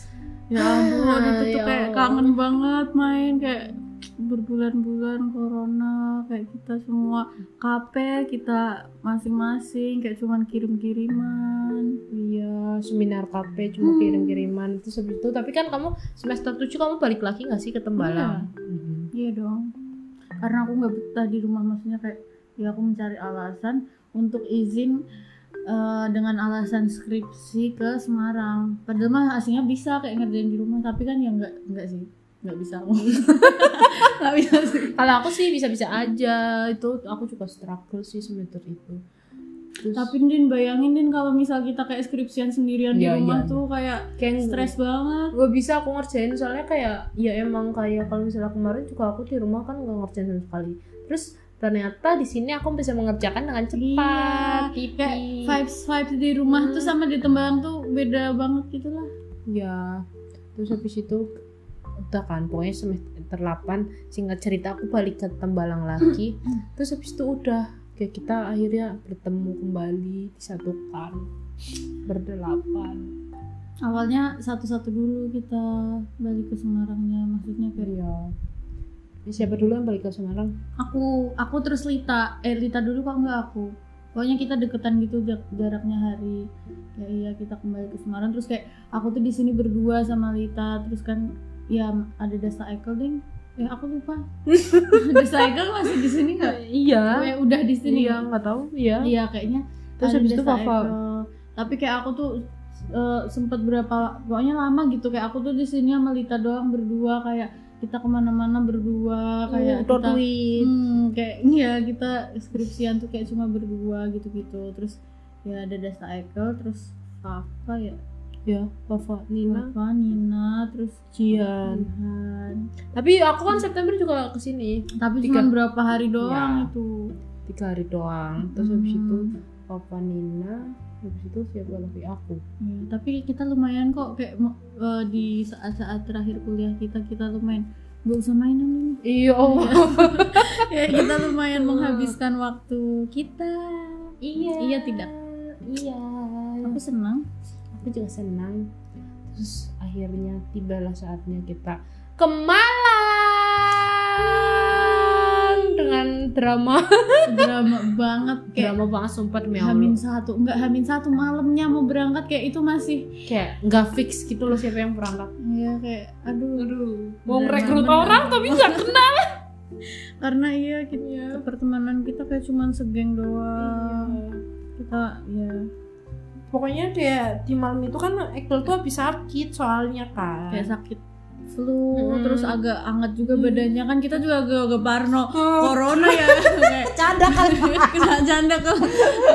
Speaker 2: ya ampun itu tuh
Speaker 1: Ya
Speaker 2: kayak
Speaker 1: Allah.
Speaker 2: kangen banget main kayak berbulan-bulan corona kayak kita semua kafe kita masing-masing kayak cuman kirim-kiriman
Speaker 1: Iya, seminar KP cuma
Speaker 2: Hmm.
Speaker 1: kirim-kiriman itu habis itu. Tapi kan kamu semester 7 kamu balik lagi nggak sih ke Tembalang? Mhm.
Speaker 2: iya dong karena aku nggak betah di rumah maksudnya kayak ya aku mencari alasan untuk izin eh, dengan alasan skripsi ke Semarang padahal mah aslinya bisa kayak ngerjain di rumah tapi kan ya nggak nggak sih nggak bisa aku nggak bisa sih
Speaker 1: Kalau aku sih bisa-bisa aja. Itu aku juga struggle sih semester itu. Terus
Speaker 2: Tapi Din bayangin Din kalau misal kita kayak skripsian sendirian
Speaker 1: Iya,
Speaker 2: di rumah
Speaker 1: iya.
Speaker 2: tuh kayak
Speaker 1: kayak
Speaker 2: stres banget.
Speaker 1: Gak bisa aku ngerjain soalnya kayak ya emang kayak kalau misalnya kemarin juga aku di rumah kan gak ngerjain sama sekali. Terus ternyata di sini aku bisa mengerjakan dengan cepat,
Speaker 2: Iya,
Speaker 1: tipis.
Speaker 2: Kayak vibes vibes di rumah
Speaker 1: Hmm.
Speaker 2: tuh sama di Tembalang tuh beda banget gitu lah.
Speaker 1: Ya, terus habis itu udah kan pokoknya semester 8 singkat cerita aku balik ke Tembalang lagi. terus habis itu udah kayak kita akhirnya bertemu kembali disatukan berdelapan.
Speaker 2: Awalnya satu-satu dulu kita balik ke Semarangnya maksudnya kayak
Speaker 1: Iya. Siapa dulu yang balik ke Semarang?
Speaker 2: aku aku terus Lita eh Lita dulu kok nggak aku pokoknya kita deketan gitu jak- jaraknya hari ya iya kita kembali ke Semarang terus kayak aku tuh di sini berdua sama Lita terus kan ya ada Desa Ekel ding eh aku lupa Desa Ekel masih di sini nggak
Speaker 1: Iya.
Speaker 2: Eh, udah di sini
Speaker 1: Iya, nggak tahu. Iya.
Speaker 2: iya kayaknya
Speaker 1: Terus
Speaker 2: ada
Speaker 1: habis itu
Speaker 2: Desa
Speaker 1: Fafa.
Speaker 2: Ekel. tapi kayak aku tuh eh, sempet berapa pokoknya lama gitu kayak aku tuh di sini sama Lita doang berdua kayak kita kemana-mana berdua kayak
Speaker 1: Oh, Dot
Speaker 2: kita-
Speaker 1: wit.
Speaker 2: Hmm, kayak iya kita skripsian tuh kayak cuma berdua gitu-gitu terus ya ada Dasa Ekel terus
Speaker 1: Nah,
Speaker 2: apa ya
Speaker 1: ya Bapak Nina
Speaker 2: apa Nina terus
Speaker 1: Jian
Speaker 2: Jihan
Speaker 1: tapi aku kan September juga kesini
Speaker 2: tapi
Speaker 1: Tiga.
Speaker 2: cuma berapa hari
Speaker 1: Ya.
Speaker 2: doang itu
Speaker 1: tiga hari doang terus habis
Speaker 2: Hmm.
Speaker 1: itu Bapak Nina habis itu siapa lagi aku
Speaker 2: Ya, tapi kita lumayan kok kayak mo- eh, di saat-saat terakhir kuliah kita kita lumayan gak usah mainan ini
Speaker 1: iya
Speaker 2: Kayak kita lumayan menghabiskan waktu kita
Speaker 1: iya
Speaker 2: Iya, tidak.
Speaker 1: iya
Speaker 2: aku senang
Speaker 1: aku juga senang terus akhirnya tibalah saatnya kita ke Malang dengan drama
Speaker 2: drama banget kayak
Speaker 1: drama banget sumpah demi Allah.
Speaker 2: Hamin satu, enggak Hamin satu malamnya mau berangkat kayak itu masih
Speaker 1: kayak nggak fix gitu loh siapa yang berangkat
Speaker 2: Iya kayak aduh
Speaker 1: aduh
Speaker 2: Drama beneran.
Speaker 1: tapi nggak kenal
Speaker 2: karena iya kita pertemanan kita kayak cuman segeng
Speaker 1: Iya.
Speaker 2: doang. Kita ya
Speaker 3: pokoknya dia di malam itu kan Ekel tuh habis sakit soalnya kan
Speaker 2: kayak sakit flu
Speaker 1: Mm-mm.
Speaker 2: terus agak anget juga badannya kan kita juga agak, agak parno
Speaker 1: Oh.
Speaker 3: Hmm,
Speaker 2: corona ya kayak
Speaker 3: canda
Speaker 1: kan.
Speaker 3: kali
Speaker 2: kena janda kalau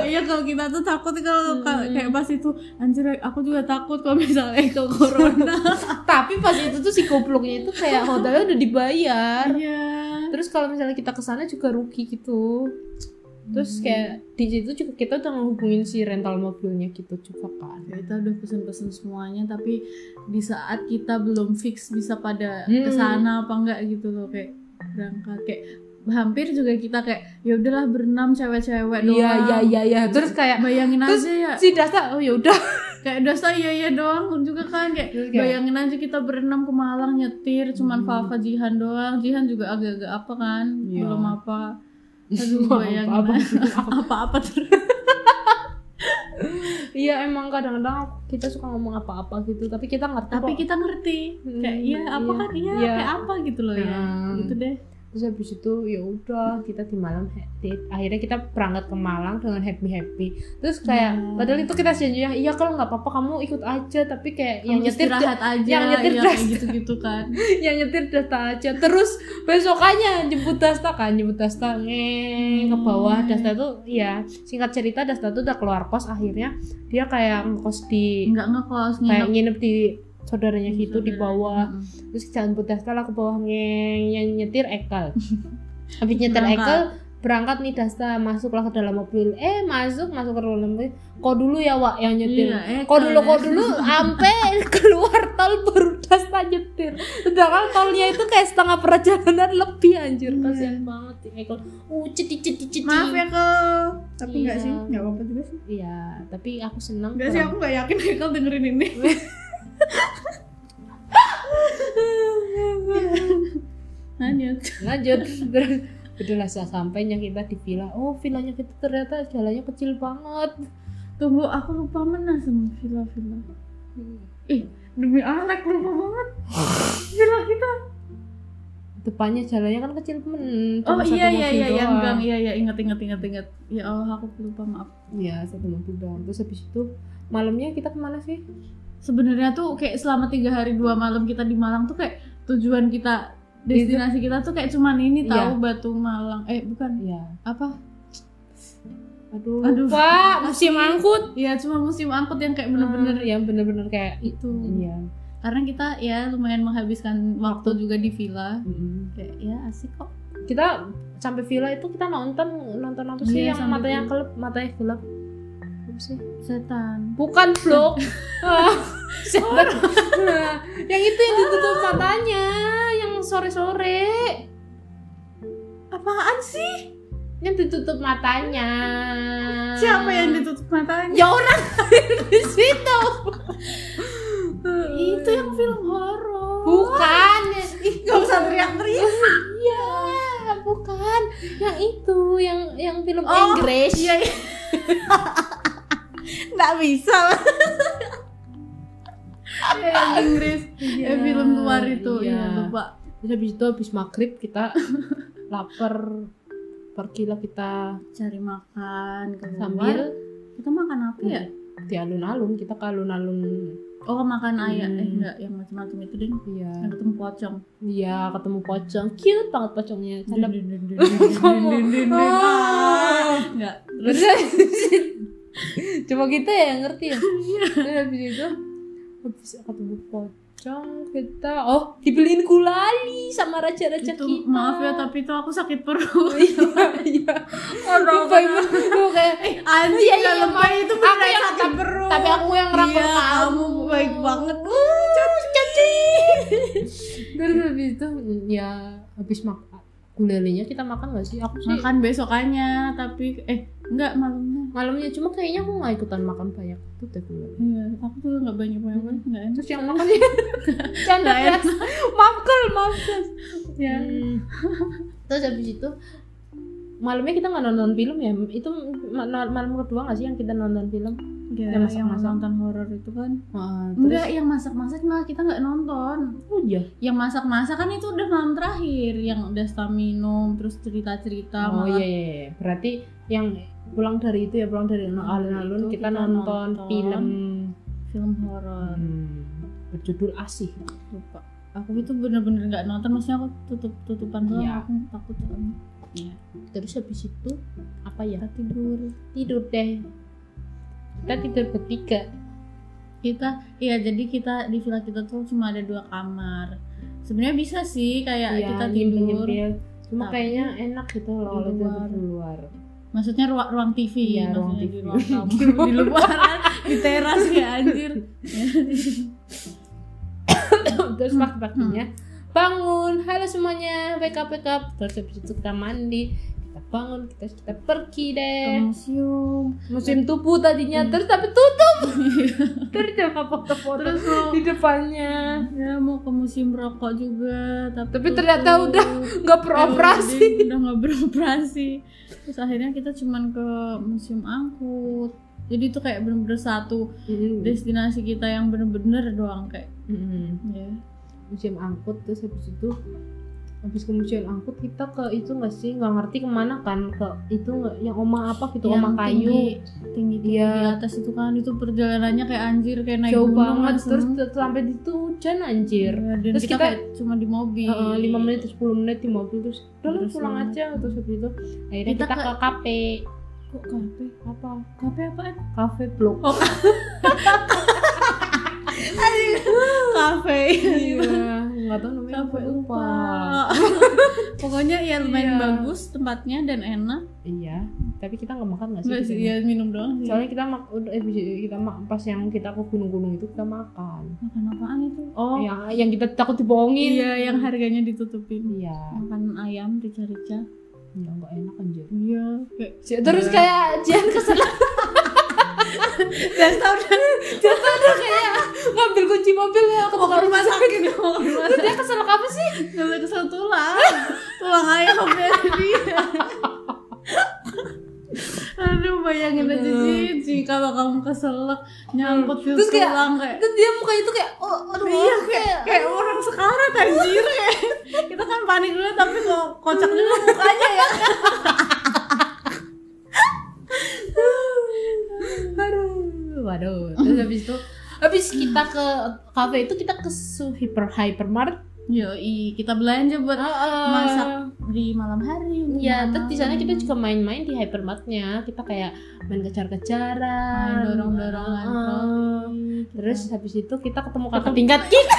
Speaker 2: iya kalau kita tuh takut kalau kalau kayak pas itu anjir aku juga takut kalau misalnya ke corona
Speaker 1: tapi pas itu tuh si gobloknya itu kayak hotelnya udah dibayar
Speaker 2: iya
Speaker 1: terus kalau misalnya kita kesana juga rugi gitu
Speaker 2: Hmm.
Speaker 1: terus kayak di situ juga kita udah ngehubungin si rental mobilnya gitu juga kan
Speaker 2: Ya, kita udah pesen-pesen semuanya tapi di saat kita belum fix bisa pada
Speaker 1: Hmm.
Speaker 2: kesana apa enggak gitu loh kayak berangkat kayak hampir juga kita kayak ya udahlah berenam cewek-cewek doang
Speaker 1: iya iya iya iya terus kayak
Speaker 2: bayangin
Speaker 1: Terus-
Speaker 2: aja ya
Speaker 1: si Dasta oh ya udah
Speaker 2: kayak dosa iya iya doang juga kan kayak
Speaker 1: Terus kayak,
Speaker 2: bayangin aja kita berenam ke Malang nyetir
Speaker 1: Iya.
Speaker 2: cuman
Speaker 1: Hmm.
Speaker 2: Fafa Jihan doang Jihan juga agak-agak apa kan
Speaker 1: Iya.
Speaker 2: belum apa aduh
Speaker 1: Maaf,
Speaker 2: bayangin
Speaker 1: apa-apa.
Speaker 2: apa-apa terus
Speaker 1: iya emang kadang-kadang kita suka ngomong apa-apa gitu tapi kita ngerti
Speaker 2: tapi
Speaker 1: kok.
Speaker 2: kita ngerti kayak
Speaker 1: Hmm,
Speaker 2: iya apa kan iya
Speaker 1: Iya.
Speaker 2: kayak apa gitu loh ya
Speaker 1: Hmm.
Speaker 2: gitu deh
Speaker 1: terus habis itu ya udah kita di malam happy. akhirnya kita berangkat ke Malang dengan happy happy terus kayak
Speaker 2: Iya.
Speaker 1: padahal itu kita janjinya iya kalau nggak apa-apa kamu ikut aja tapi kayak yang
Speaker 2: Kamu
Speaker 1: nyetir
Speaker 2: istirahat aja
Speaker 1: yang nyetir
Speaker 2: ya,
Speaker 1: das.
Speaker 2: kayak gitu-gitu kan
Speaker 1: yang nyetir Dasta aja terus besokannya jemput Dasta kan jemput Dasta ngeng ke bawah Dasta tuh ya singkat cerita Dasta tuh udah keluar kos akhirnya dia kayak ngekos di
Speaker 2: nggak ngekos
Speaker 1: kayak
Speaker 2: nginep
Speaker 1: nginep di saudaranya gitu di
Speaker 2: saudaranya.
Speaker 1: bawah
Speaker 2: Mm-mm.
Speaker 1: terus jemput Dasta lah ke bawah ngeng yang nyetir Ekel habis nyetir
Speaker 2: Berangkat.
Speaker 1: Ekel berangkat nih Dasta masuklah ke dalam mobil eh masuk masuk ke dalam mobil kok dulu ya Wak yang nyetir
Speaker 2: Iya, eh,
Speaker 1: Kok dulu,
Speaker 2: kalau-
Speaker 1: kok dulu, ampe keluar tol baru Dasta nyetir. Sedangkan tolnya itu kayak setengah perjalanan lebih anjir.
Speaker 2: Iya.
Speaker 1: Kasian banget si Michael. Uh, ceti ceti ceti.
Speaker 3: maaf ya ke tapi nggak
Speaker 1: Iya.
Speaker 3: sih nggak apa-apa juga sih
Speaker 1: Iya, tapi aku seneng.
Speaker 3: nggak sih aku nggak yakin Ekel dengerin ini
Speaker 2: lanjut
Speaker 1: Lanjut. Terus udah lah sa- sampainya kita di villa. Oh, villanya kita ternyata jalannya kecil banget.
Speaker 2: tunggu aku lupa mana sama villa-villa ih demi Alek lupa banget villa kita
Speaker 1: Depannya jalannya kan kecil men.
Speaker 2: oh
Speaker 1: cuma satu
Speaker 2: iya iya
Speaker 1: mobil
Speaker 2: iya yang
Speaker 1: doang.
Speaker 2: gang iya iya ingat ingat ingat ingat ya Allah aku lupa maaf
Speaker 1: Iya, satu mobil doang. Terus habis itu malamnya kita kemana sih?
Speaker 2: sebenarnya tuh kayak selama tiga hari dua malam kita di Malang tuh kayak tujuan kita destinasi kita tuh kayak cuman ini tahu Batu Malang eh bukan
Speaker 1: Iya.
Speaker 2: apa
Speaker 3: aduh,
Speaker 2: Aduh.
Speaker 1: Wah, musim angkut.
Speaker 2: Iya, cuma musim angkut yang kayak bener-bener
Speaker 1: yang Iya, bener-bener kayak
Speaker 2: itu.
Speaker 1: iya.
Speaker 2: Karena kita ya lumayan menghabiskan waktu juga di villa. Kayak ya asik kok.
Speaker 1: Kita sampai villa itu kita nonton nonton apa sih yang
Speaker 2: Iya, sampai
Speaker 1: matanya
Speaker 2: villa.
Speaker 1: kelep, matanya gelap. Apa sih?
Speaker 2: Setan.
Speaker 1: Bukan vlog. Ah, siapa? Nah, yang itu yang ditutup matanya, yang sore-sore.
Speaker 2: Apaan sih?
Speaker 1: Yang ditutup matanya.
Speaker 2: Siapa yang ditutup matanya?
Speaker 1: Ya orang di situ.
Speaker 2: Itu yang film horor.
Speaker 1: Bukan. Ih,
Speaker 2: Gak usah teriak-teriak.
Speaker 1: Iya, bukan. Yang itu, yang yang film
Speaker 2: Oh,
Speaker 1: Inggris.
Speaker 2: Iya. iya. Nggak bisa. ya, yang Inggris.
Speaker 1: Iya,
Speaker 2: Ya, film luar itu.
Speaker 1: iya.
Speaker 2: Iya, lupa.
Speaker 1: Terus habis itu habis maghrib kita lapar pergilah kita
Speaker 2: Cari makan keluar.
Speaker 1: sambil
Speaker 2: kita makan apa ya?
Speaker 1: Hmm. di alun-alun kita ke alun-alun
Speaker 2: Oh, makan ayam. Eh,
Speaker 1: Hmm.
Speaker 2: enggak, yang macam-macam itu deh.
Speaker 1: iya
Speaker 2: Yang ketemu pocong.
Speaker 1: iya ketemu pocong cute banget pocongnya canda
Speaker 2: Dun, dun, dun, dun, dun, dun, dun, dun.
Speaker 1: Ah.
Speaker 2: Enggak. Terus
Speaker 1: Terus habis itu- Cuma kita ya yang ngerti ya.
Speaker 2: Iya.
Speaker 1: Terus habis itu habis ketemu pocong kita oh dibeliin gulali sama raja-raja
Speaker 2: itu,
Speaker 1: kita.
Speaker 2: maaf ya, tapi itu aku sakit perut.
Speaker 1: iya iya. Lupa ibu Gua kayak
Speaker 2: Eh, anjir,
Speaker 1: Iya,
Speaker 2: iya,
Speaker 1: iya,
Speaker 2: lebay itu
Speaker 1: Aku
Speaker 2: beneran
Speaker 1: yang
Speaker 2: sakit perut.
Speaker 1: tapi aku yang rangkul
Speaker 2: Iya, kamu baik banget.
Speaker 1: Terus habis itu ya habis makan gulalinya kita makan gak sih? Aku sih
Speaker 2: Makan besokannya, tapi eh enggak malamnya.
Speaker 1: malamnya cuma kayaknya aku nggak ikutan makan banyak itu deh gulali.
Speaker 2: Iya, aku tuh enggak banyak banyak enggak enak.
Speaker 1: Terus yang makan ya? canda
Speaker 2: Nggak
Speaker 1: ya. Maaf Kul, maaf Kul.
Speaker 2: Ya.
Speaker 1: Hmm. Terus habis itu malamnya kita nggak nonton film ya? Itu ma- ma- malam kedua nggak sih yang kita nonton film?
Speaker 2: Ya,
Speaker 1: Yang masak-masak.
Speaker 2: yang nonton horor itu kan.
Speaker 1: Ah,
Speaker 2: Enggak, yang masak-masak malah kita enggak nonton.
Speaker 1: Oh iya.
Speaker 2: Yang masak-masak kan itu udah malam terakhir, yang udah setelah minum terus cerita-cerita
Speaker 1: Oh
Speaker 2: malah
Speaker 1: iya, iya, iya. Berarti yang pulang dari itu ya pulang dari alun-alun
Speaker 2: Itu
Speaker 1: kita,
Speaker 2: kita
Speaker 1: nonton,
Speaker 2: nonton.
Speaker 1: film hmm,
Speaker 2: film horor.
Speaker 1: berjudul Asih.
Speaker 2: Lupa. Aku itu bener-bener nggak nonton, maksudnya aku tutup tutupan doang,
Speaker 1: Iya.
Speaker 2: aku takut sama
Speaker 1: Terus habis itu apa ya?
Speaker 2: tidur.
Speaker 1: Tidur deh. Kita tidur bertiga.
Speaker 2: kita iya jadi kita di villa kita tuh cuma ada dua kamar sebenarnya bisa sih kayak
Speaker 1: Iya,
Speaker 2: kita tidur
Speaker 1: nyempil-nyempil. Cuma
Speaker 2: Tapi
Speaker 1: kayaknya enak gitu loh kalau
Speaker 2: di
Speaker 1: tidur
Speaker 2: luar.
Speaker 1: di luar.
Speaker 2: maksudnya ruang ruang TV
Speaker 1: Iya, ruang
Speaker 2: maksudnya di
Speaker 1: TV.
Speaker 2: ruang tamu di luar di teras ya anjir
Speaker 1: Terus pagi-paginya bangun. Halo semuanya, wake up wake up. Terus habis itu kita mandi, kita bangun, kita kita pergi deh.
Speaker 2: Ke museum
Speaker 1: musim tubuh tadinya
Speaker 2: Hmm.
Speaker 1: terus tapi tutup terus jangan foto-foto
Speaker 2: terus mau
Speaker 1: di depannya
Speaker 2: ya mau ke museum rokok juga tapi,
Speaker 1: Tapi ternyata udah nggak beroperasi
Speaker 2: Eh, udah- udah nggak beroperasi terus akhirnya kita cuman ke museum angkut jadi itu kayak bener-bener satu
Speaker 1: iya,
Speaker 2: destinasi kita yang bener-bener doang kayak
Speaker 1: Mm-mm.
Speaker 2: ya
Speaker 1: musim angkut terus habis itu habis ke musim angkut kita ke itu nggak sih nggak ngerti kemana kan ke itu nggak yang oma apa gitu
Speaker 2: Yang
Speaker 1: oma kayu
Speaker 2: tinggi tinggi
Speaker 1: Iya.
Speaker 2: di atas itu kan itu perjalanannya kayak anjir kayak naik
Speaker 1: jauh
Speaker 2: gunung
Speaker 1: banget
Speaker 2: langsung.
Speaker 1: terus t- sampai di itu hujan anjir
Speaker 2: Iya, dan
Speaker 1: Terus
Speaker 2: kita,
Speaker 1: kita-
Speaker 2: kayak cuma di mobil
Speaker 1: Heeh, lima menit atau 10 menit di mobil Iya. terus udah lah,
Speaker 2: Terus
Speaker 1: pulang
Speaker 2: banget.
Speaker 1: aja terus habis itu akhirnya kita,
Speaker 2: Kita
Speaker 1: ke,
Speaker 2: ke-
Speaker 1: kafe
Speaker 2: kok kafe
Speaker 1: apa
Speaker 2: kafe apaan
Speaker 1: kafe blok
Speaker 2: kafe
Speaker 1: iya nggak tahu namanya
Speaker 2: kafe
Speaker 1: apa
Speaker 2: lupa
Speaker 1: lupa
Speaker 2: pokoknya ya
Speaker 1: Iya.
Speaker 2: lumayan bagus tempatnya dan enak
Speaker 1: iya tapi kita nggak makan nggak sih
Speaker 2: nggak
Speaker 1: di
Speaker 2: sih
Speaker 1: sana?
Speaker 2: ya minum doang sih
Speaker 1: soalnya kita mak udah eh, kita mak pas yang kita ke gunung-gunung itu kita makan
Speaker 2: makan apaan itu oh
Speaker 1: yang yang kita takut dibohongin
Speaker 2: iya yang harganya ditutupin
Speaker 1: iya
Speaker 2: makan ayam rica-rica
Speaker 1: ya nggak enak anjir
Speaker 2: iya kayak
Speaker 1: terus kayak Jian kesel
Speaker 2: dan tahu
Speaker 1: terus kayak ngambil kunci mobil ya ke
Speaker 2: mau ke rumah sakit mau ke rumah
Speaker 1: Terus dia kesel apa sih
Speaker 2: Gak kesel tulang Tulang ayam ya dia Aduh bayangin aja
Speaker 1: Aduh. Hmm.
Speaker 2: Cici Kalau kamu keselak Nyangkut ke
Speaker 1: Terus kayak-
Speaker 2: tulang kayak
Speaker 1: terus dia mukanya tuh kayak oh aduh
Speaker 2: Iya kayak, kayak orang sekarat anjir kayak. Kita kan panik dulu tapi kok kocak juga mukanya ya
Speaker 1: aduh waduh terus habis itu habis kita ke kafe itu kita ke su- hyper hypermart
Speaker 2: Yoi, kita belanja buat masak di malam hari. untuk
Speaker 1: Ya,
Speaker 2: malam.
Speaker 1: terus di sana kita juga main-main di hypermartnya. Kita kayak main kejar-kejaran,
Speaker 2: Main dorong-dorongan
Speaker 1: Heeh.
Speaker 2: Iya, kita-
Speaker 1: Terus habis itu kita ketemu kakak tingkat kita.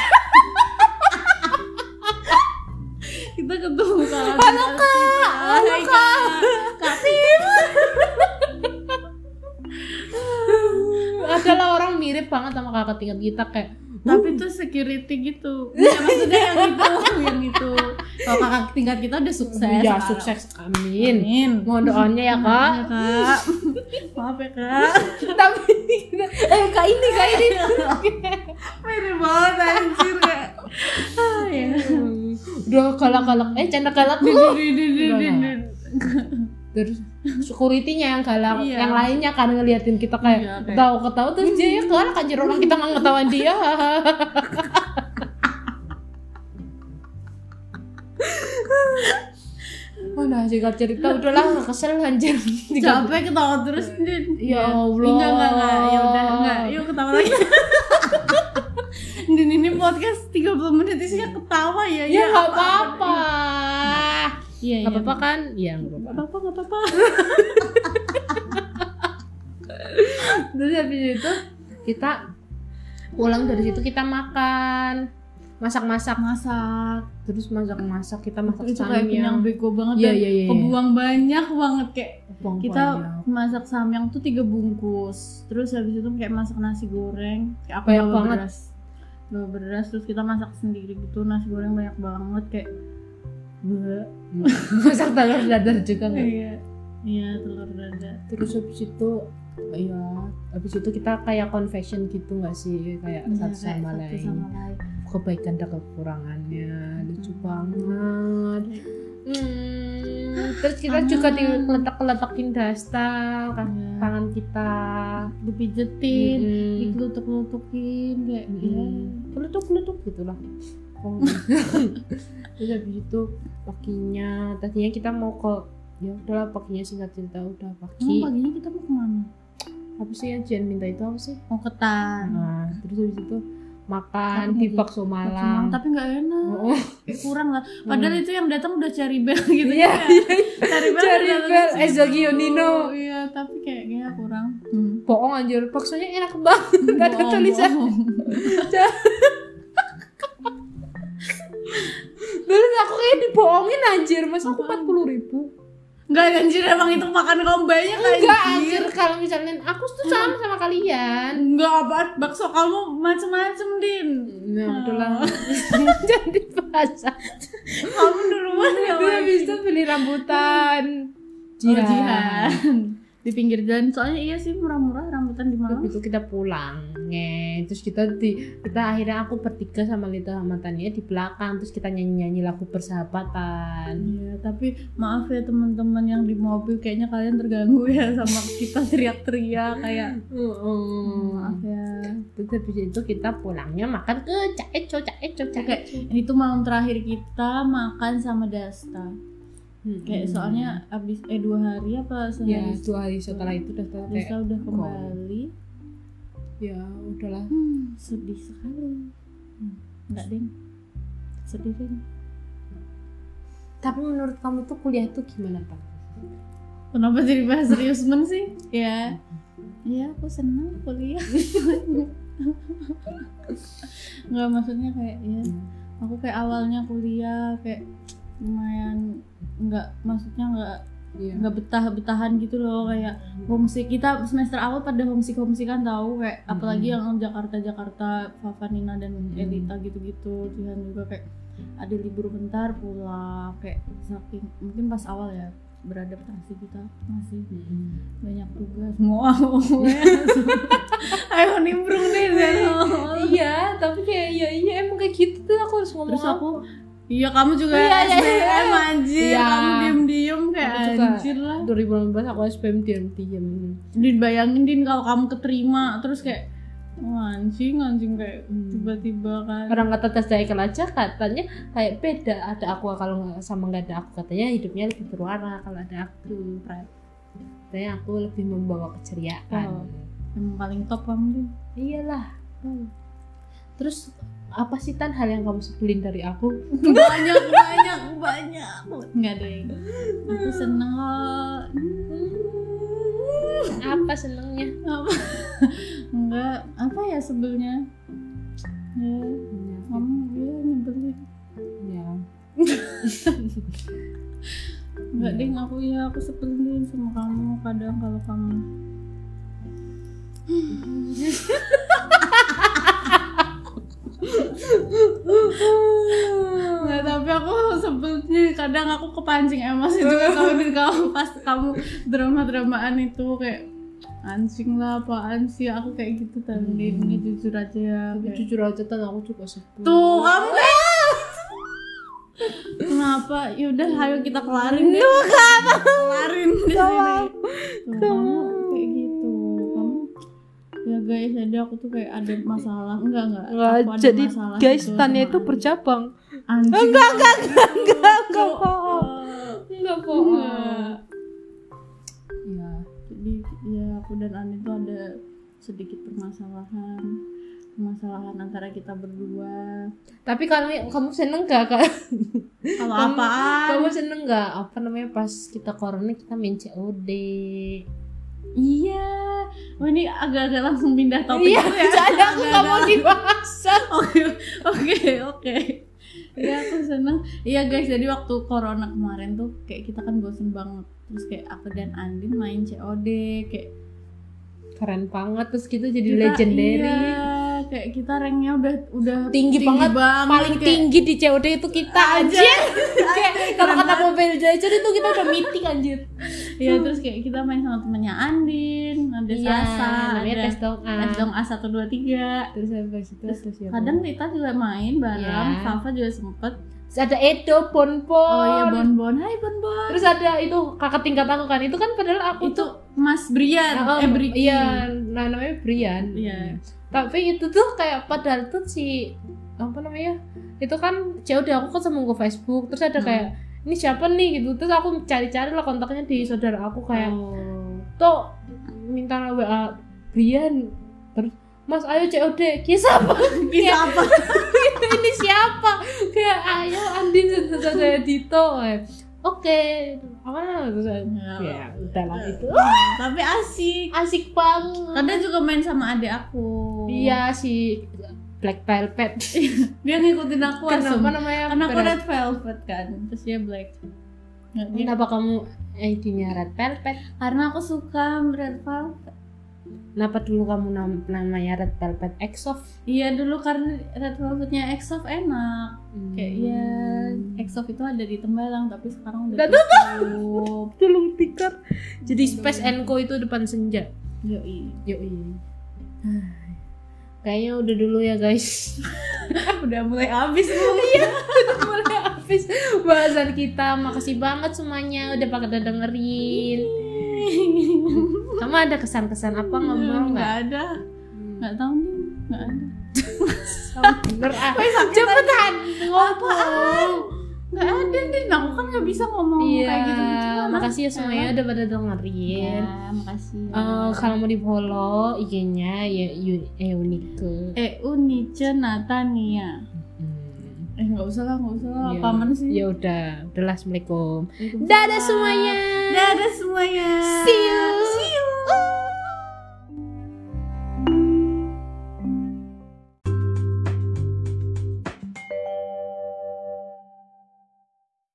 Speaker 2: kita ketemu kakak tingkat kita. Hai, Kak. Kak
Speaker 1: Adalah orang mirip banget sama kakak tingkat kita kayak Hmm.
Speaker 2: tapi itu security gitu ya, maksudnya yang itu yang itu kalau kakak tingkat kita udah sukses
Speaker 1: ya
Speaker 2: sekarang.
Speaker 1: sukses amin.
Speaker 2: Amin.
Speaker 1: Mohon doanya ya kak.
Speaker 2: Iya, kak maaf ya kak
Speaker 1: Iya. Tapi eh kak ini kak ini.
Speaker 2: mirip banget anjir kak Ah, ya.
Speaker 1: Udah galak-galak eh canda galak
Speaker 2: Din,
Speaker 1: lu.
Speaker 2: din, din, din, din, din.
Speaker 1: Terus security-nya yang galak,
Speaker 2: Iya.
Speaker 1: yang lainnya kan ngeliatin kita
Speaker 2: Iya,
Speaker 1: kayak
Speaker 2: kayak-
Speaker 1: tahu ketawa terus dia ya galak anjir orang kita nggak ngetahuan dia. Udah singkat cerita udahlah kesel anjir.
Speaker 2: capek ketawa terus din Iya.
Speaker 1: Ya Allah.
Speaker 2: enggak enggak enggak ya udah enggak yuk ketawa lagi Din ini podcast 30 menit isinya ketawa ya
Speaker 1: Ya nggak apa-apa.
Speaker 2: Iya,
Speaker 1: Nggak
Speaker 2: iya.
Speaker 1: apa-apa kan? Iya nggak apa-apa.
Speaker 2: Nggak apa-apa nggak apa-apa
Speaker 1: Terus habis itu kita pulang dari situ kita makan masak-masak
Speaker 2: masak
Speaker 1: terus masak-masak kita masak
Speaker 2: itu kayak
Speaker 1: samyang
Speaker 2: kenyang bego banget
Speaker 1: Iya,
Speaker 2: dan
Speaker 1: iya, iya,
Speaker 2: kebuang banyak banget kayak
Speaker 1: Buang
Speaker 2: kita
Speaker 1: banyak.
Speaker 2: masak samyang tuh tiga bungkus terus habis itu kayak masak nasi goreng kayak aku
Speaker 1: Banyak
Speaker 2: bawa
Speaker 1: banget.
Speaker 2: beras bawa beras terus kita masak sendiri gitu nasi goreng banyak banget kayak Bleh.
Speaker 1: masak telur dadar juga nggak
Speaker 2: iya iya telur dadar
Speaker 1: terus habis itu ya habis itu kita kayak confession gitu nggak sih kayak
Speaker 2: Iya,
Speaker 1: satu
Speaker 2: kayak
Speaker 1: sama
Speaker 2: satu
Speaker 1: lain
Speaker 2: sama lain
Speaker 1: kebaikan dan kekurangannya lucu
Speaker 2: Hmm.
Speaker 1: banget hmm, terus kita juga diletak letakin daster kan
Speaker 2: Iya.
Speaker 1: tangan kita Iya. Hmm.
Speaker 2: dipijetin
Speaker 1: Mm-mm.
Speaker 2: dikelutuk-kelutukin kayak iya.
Speaker 1: Mm-mm. Kelutuk-kelutuk gitu lah Oh. terus habis itu paginya tadinya kita mau ke ya udahlah paginya singkat cerita udah
Speaker 2: Emang
Speaker 1: pagi
Speaker 2: paginya kita mau kemana?
Speaker 1: apa sih yang Jen minta itu apa sih
Speaker 2: Mau ke Tan.
Speaker 1: nah terus habis itu makan
Speaker 2: Tapi
Speaker 1: di
Speaker 2: nggak
Speaker 1: bakso
Speaker 2: Cuman,
Speaker 1: malang
Speaker 2: tapi nggak enak. Hmm.
Speaker 1: Oh,
Speaker 2: kurang lah padahal itu yang datang udah cari bel gitu
Speaker 1: Iya,
Speaker 2: ya cari bel
Speaker 1: Cari
Speaker 2: datang
Speaker 1: Bel,
Speaker 2: terus.
Speaker 1: Eza Gionino.
Speaker 2: iya tapi kayaknya kurang hmm.
Speaker 1: bohong anjir baksonya enak banget nggak ada
Speaker 2: Bohong,
Speaker 1: tulisan
Speaker 2: bohong.
Speaker 1: terus aku kayak dibohongin anjir masa aku empat puluh ribu
Speaker 2: nggak anjir emang itu makan kombanya kan
Speaker 1: enggak anjir Hmm. kalau misalnya aku tuh sama sama kalian
Speaker 2: nggak apa bakso kamu macem-macem din
Speaker 1: nah udahlah jadi bahasa
Speaker 2: kamu duluan ya
Speaker 1: Terus habis itu beli rambutan
Speaker 2: jihan. Oh, jihan di pinggir jalan soalnya iya sih murah-murah rambutan di
Speaker 1: Habis
Speaker 2: Malang
Speaker 1: itu kita pulang nge. Terus kita di kita akhirnya aku bertiga sama Lita sama Tania di belakang Terus kita nyanyi-nyanyi lagu persahabatan
Speaker 2: Iya, tapi maaf ya teman-teman yang di mobil kayaknya kalian terganggu ya sama kita teriak-teriak kayak oh. maaf ya.
Speaker 1: Hmm. Terus habis itu kita pulangnya makan ke Cak Eco, Cak Eco, Cak
Speaker 2: Kayak
Speaker 1: Eco
Speaker 2: itu malam terakhir kita makan sama Dasta kayak
Speaker 1: Mm-mm.
Speaker 2: soalnya abis eh dua hari apa
Speaker 1: Hmm. Ya
Speaker 2: sehari
Speaker 1: dua hari setelah itu udah tahu kayak
Speaker 2: Dasta udah kembali
Speaker 1: Ya udahlah
Speaker 2: hmm, sedih sekali Hmm, enggak ding sedih ding
Speaker 1: Tapi menurut kamu tuh kuliah tuh gimana Pak?
Speaker 2: kenapa jadi bahas serius men sih ya Iya, aku senang kuliah. Enggak maksudnya kayak ya, aku kayak awalnya kuliah kayak lumayan enggak maksudnya enggak
Speaker 1: Iya
Speaker 2: nggak betah betahan gitu loh kayak homesick kita semester awal pada homesick homesick kan tahu kayak
Speaker 1: Mm-hmm.
Speaker 2: apalagi yang Jakarta Jakarta Fafanina dan
Speaker 1: Mm.
Speaker 2: Elita gitu gitu Jihan juga kayak ada libur bentar pulang kayak saking mungkin pas awal ya beradaptasi kita masih
Speaker 1: Mm-mm.
Speaker 2: banyak tugas mau
Speaker 1: Hmm.
Speaker 2: ayo nimbrung deh Zeno.
Speaker 1: Iya, tapi kayak ya iya emang kayak gitu tuh aku harus ngomong
Speaker 2: terus
Speaker 1: apa?
Speaker 2: aku iya kamu juga
Speaker 1: Iya, iya, iya.
Speaker 2: SBM anjir
Speaker 1: Iya.
Speaker 2: kamu diem diem kayak
Speaker 1: Aku juga.
Speaker 2: anjir lah
Speaker 1: 2018 aku SPM diam-diam.
Speaker 2: dibayangin din kalau kamu keterima terus kayak "Wah, anjing anjing kayak
Speaker 1: Hmm.
Speaker 2: tiba-tiba kan
Speaker 1: Orang kata tes Daekel aja katanya kayak beda ada aku kalau nggak sama nggak ada aku katanya hidupnya lebih berwarna kalau ada aku. Katanya aku lebih membawa keceriaan. Hmm.
Speaker 2: Oh. yang paling top kamu din
Speaker 1: Iyalah. Terus apa sih Tan hal yang kamu sebelin dari aku?
Speaker 2: banyak banyak banyak nggak ada yang aku seneng kok
Speaker 1: Apa senengnya?
Speaker 2: apa nggak apa ya sebelnya ya
Speaker 1: Iya,
Speaker 2: kamu ya nyebelin
Speaker 1: Ya.
Speaker 2: nggak deh aku ya aku sebelin sama kamu kadang kalau kamu nggak tapi aku sebelnya kadang aku kepancing emosi juga sama diri kamu pas kamu drama dramaan itu kayak anjing lah apaan sih aku kayak gitu
Speaker 4: Hmm.
Speaker 2: tadi ini jujur aja ya
Speaker 1: Tapi
Speaker 2: kayak-
Speaker 1: jujur aja Tan aku juga sebelin.
Speaker 2: Tuh kamu Kenapa? Yaudah ayo kita kelarin deh. Tuh Kelarin di sini. Tuh, kamu kayak gitu. Kamu ya guys, jadi aku tuh kayak ada masalah. Enggak enggak.
Speaker 4: Nggak,
Speaker 2: Aku ada
Speaker 4: jadi
Speaker 2: masalah
Speaker 4: guys
Speaker 2: gitu
Speaker 4: Tania
Speaker 2: sama
Speaker 4: itu
Speaker 2: Andi.
Speaker 4: bercabang
Speaker 2: Anjing.
Speaker 4: enggak enggak enggak enggak enggak bohong.
Speaker 2: Eh,
Speaker 1: Enggak
Speaker 2: enggak.
Speaker 1: Ya.
Speaker 2: Jadi ya aku dan Andi tuh ada sedikit permasalahan permasalahan antara kita berdua
Speaker 1: Tapi kalau kamu seneng gak
Speaker 2: Kan.
Speaker 1: kak?
Speaker 2: kalau
Speaker 1: Kamu-
Speaker 2: apaan
Speaker 1: Kamu seneng gak? Apa namanya pas kita corona kita main COD?
Speaker 2: Iya. Oh ini agak-agak langsung pindah topik.
Speaker 1: Iya,
Speaker 2: gitu ya. Oh.
Speaker 1: jadi aku
Speaker 2: Agak-agak
Speaker 1: gak mau
Speaker 2: langsung-
Speaker 1: dibahas.
Speaker 2: Oke, oke, oke. Iya aku seneng. Iya guys, jadi waktu corona kemarin tuh kayak kita kan bosen banget. Terus kayak aku dan Andin main COD kayak
Speaker 1: Keren banget terus kita jadi
Speaker 2: kita-
Speaker 1: legendary.
Speaker 2: Iya, kayak kita ranknya udah udah
Speaker 1: Tinggi banget, Paling
Speaker 2: kayak-
Speaker 1: tinggi di COD itu kita
Speaker 2: Aja.
Speaker 1: anjir. Kayak kalau kata Mobile Legends itu kita udah meeting anjir.
Speaker 2: Iya, terus kayak kita main sama temennya Andin, ada Sasa,
Speaker 1: Iya, namanya
Speaker 2: ada
Speaker 1: tes dong. A.
Speaker 2: Tes dong A123.
Speaker 1: Terus ya habis itu ada siapa?
Speaker 2: Kadang Rita juga main bareng,
Speaker 1: Iya.
Speaker 2: Fafa juga sempet
Speaker 1: Terus ada Edo, Bonbon.
Speaker 2: Oh iya Bon Bon, hai Bon Bon.
Speaker 1: Terus ada itu kakak tingkat aku kan. Itu kan padahal aku
Speaker 2: Itu Mas Brian,
Speaker 1: Nah,
Speaker 2: eh
Speaker 1: um,
Speaker 2: Bricky.
Speaker 1: Iya, nah namanya Brian.
Speaker 2: Iya.
Speaker 1: Tapi itu tuh kayak padahal tuh si apa namanya? Itu kan COD aku ketemu ke Facebook, terus ada
Speaker 2: Hmm.
Speaker 1: kayak ini siapa nih gitu. Terus aku cari-cari lah kontaknya di saudara aku kayak
Speaker 2: Oh.
Speaker 1: tuh minta WA Brian. Terus Mas ayo COD, kisah apa?
Speaker 2: Itu
Speaker 1: Iya.
Speaker 2: apa?
Speaker 1: ini siapa? Kayak ayo Andin saudara Dito. Eh, Oke, apa namanya? Terus, Ya, udah lah itu.
Speaker 2: Iya, Tapi asik.
Speaker 1: Asik banget.
Speaker 2: Kadang juga main sama adik aku.
Speaker 1: Iya si Black Velvet.
Speaker 2: Dia ngikutin aku asem.
Speaker 1: Kenapa namanya?
Speaker 2: Karena aku
Speaker 1: Red-
Speaker 2: red velvet kan. Terus dia black. Nggak, gitu. dia-
Speaker 1: Kenapa kamu ID-nya Red Velvet?
Speaker 2: Nah. Karena aku suka red velvet.
Speaker 1: Kenapa dulu kamu nam- namanya Red Velvet EXO?
Speaker 2: Iya dulu karena red velvetnya EXO enak.
Speaker 1: Hmm.
Speaker 2: Kayak ya EXO itu ada di Tembalang tapi sekarang udah
Speaker 1: Udah
Speaker 2: tutup.
Speaker 1: Nah, Tolong tikar. Jadi Space and Co itu depan senja.
Speaker 2: Yoi.
Speaker 1: Yoi. Kayaknya udah dulu ya guys.
Speaker 2: Udah mulai habis Bu.
Speaker 1: Mulai habis bahasan kita. Makasih banget semuanya udah pada dengerin.
Speaker 2: Iya.
Speaker 1: Kamu ada kesan-kesan apa ngomong
Speaker 2: nggak
Speaker 1: nggak?
Speaker 2: ada nggak tahu nih nggak ada
Speaker 1: Bener ah. Cepetan ngomong.
Speaker 2: nggak ada nih aku kan nggak bisa ngomong kayak gitu gitu
Speaker 1: Iya, makasih ya semuanya udah pada dengerin.
Speaker 2: ya, makasih
Speaker 1: Eh kalau mau di follow IG-nya ya Yu- Eunike.
Speaker 2: eh Unice Natania
Speaker 1: Hmm.
Speaker 2: eh nggak usah lah nggak usah lah
Speaker 1: Iya.
Speaker 2: apa mana sih
Speaker 1: Ya udah, udah assalamualaikum. Dadah semuanya.
Speaker 2: dadah semuanya
Speaker 1: See you.
Speaker 2: see you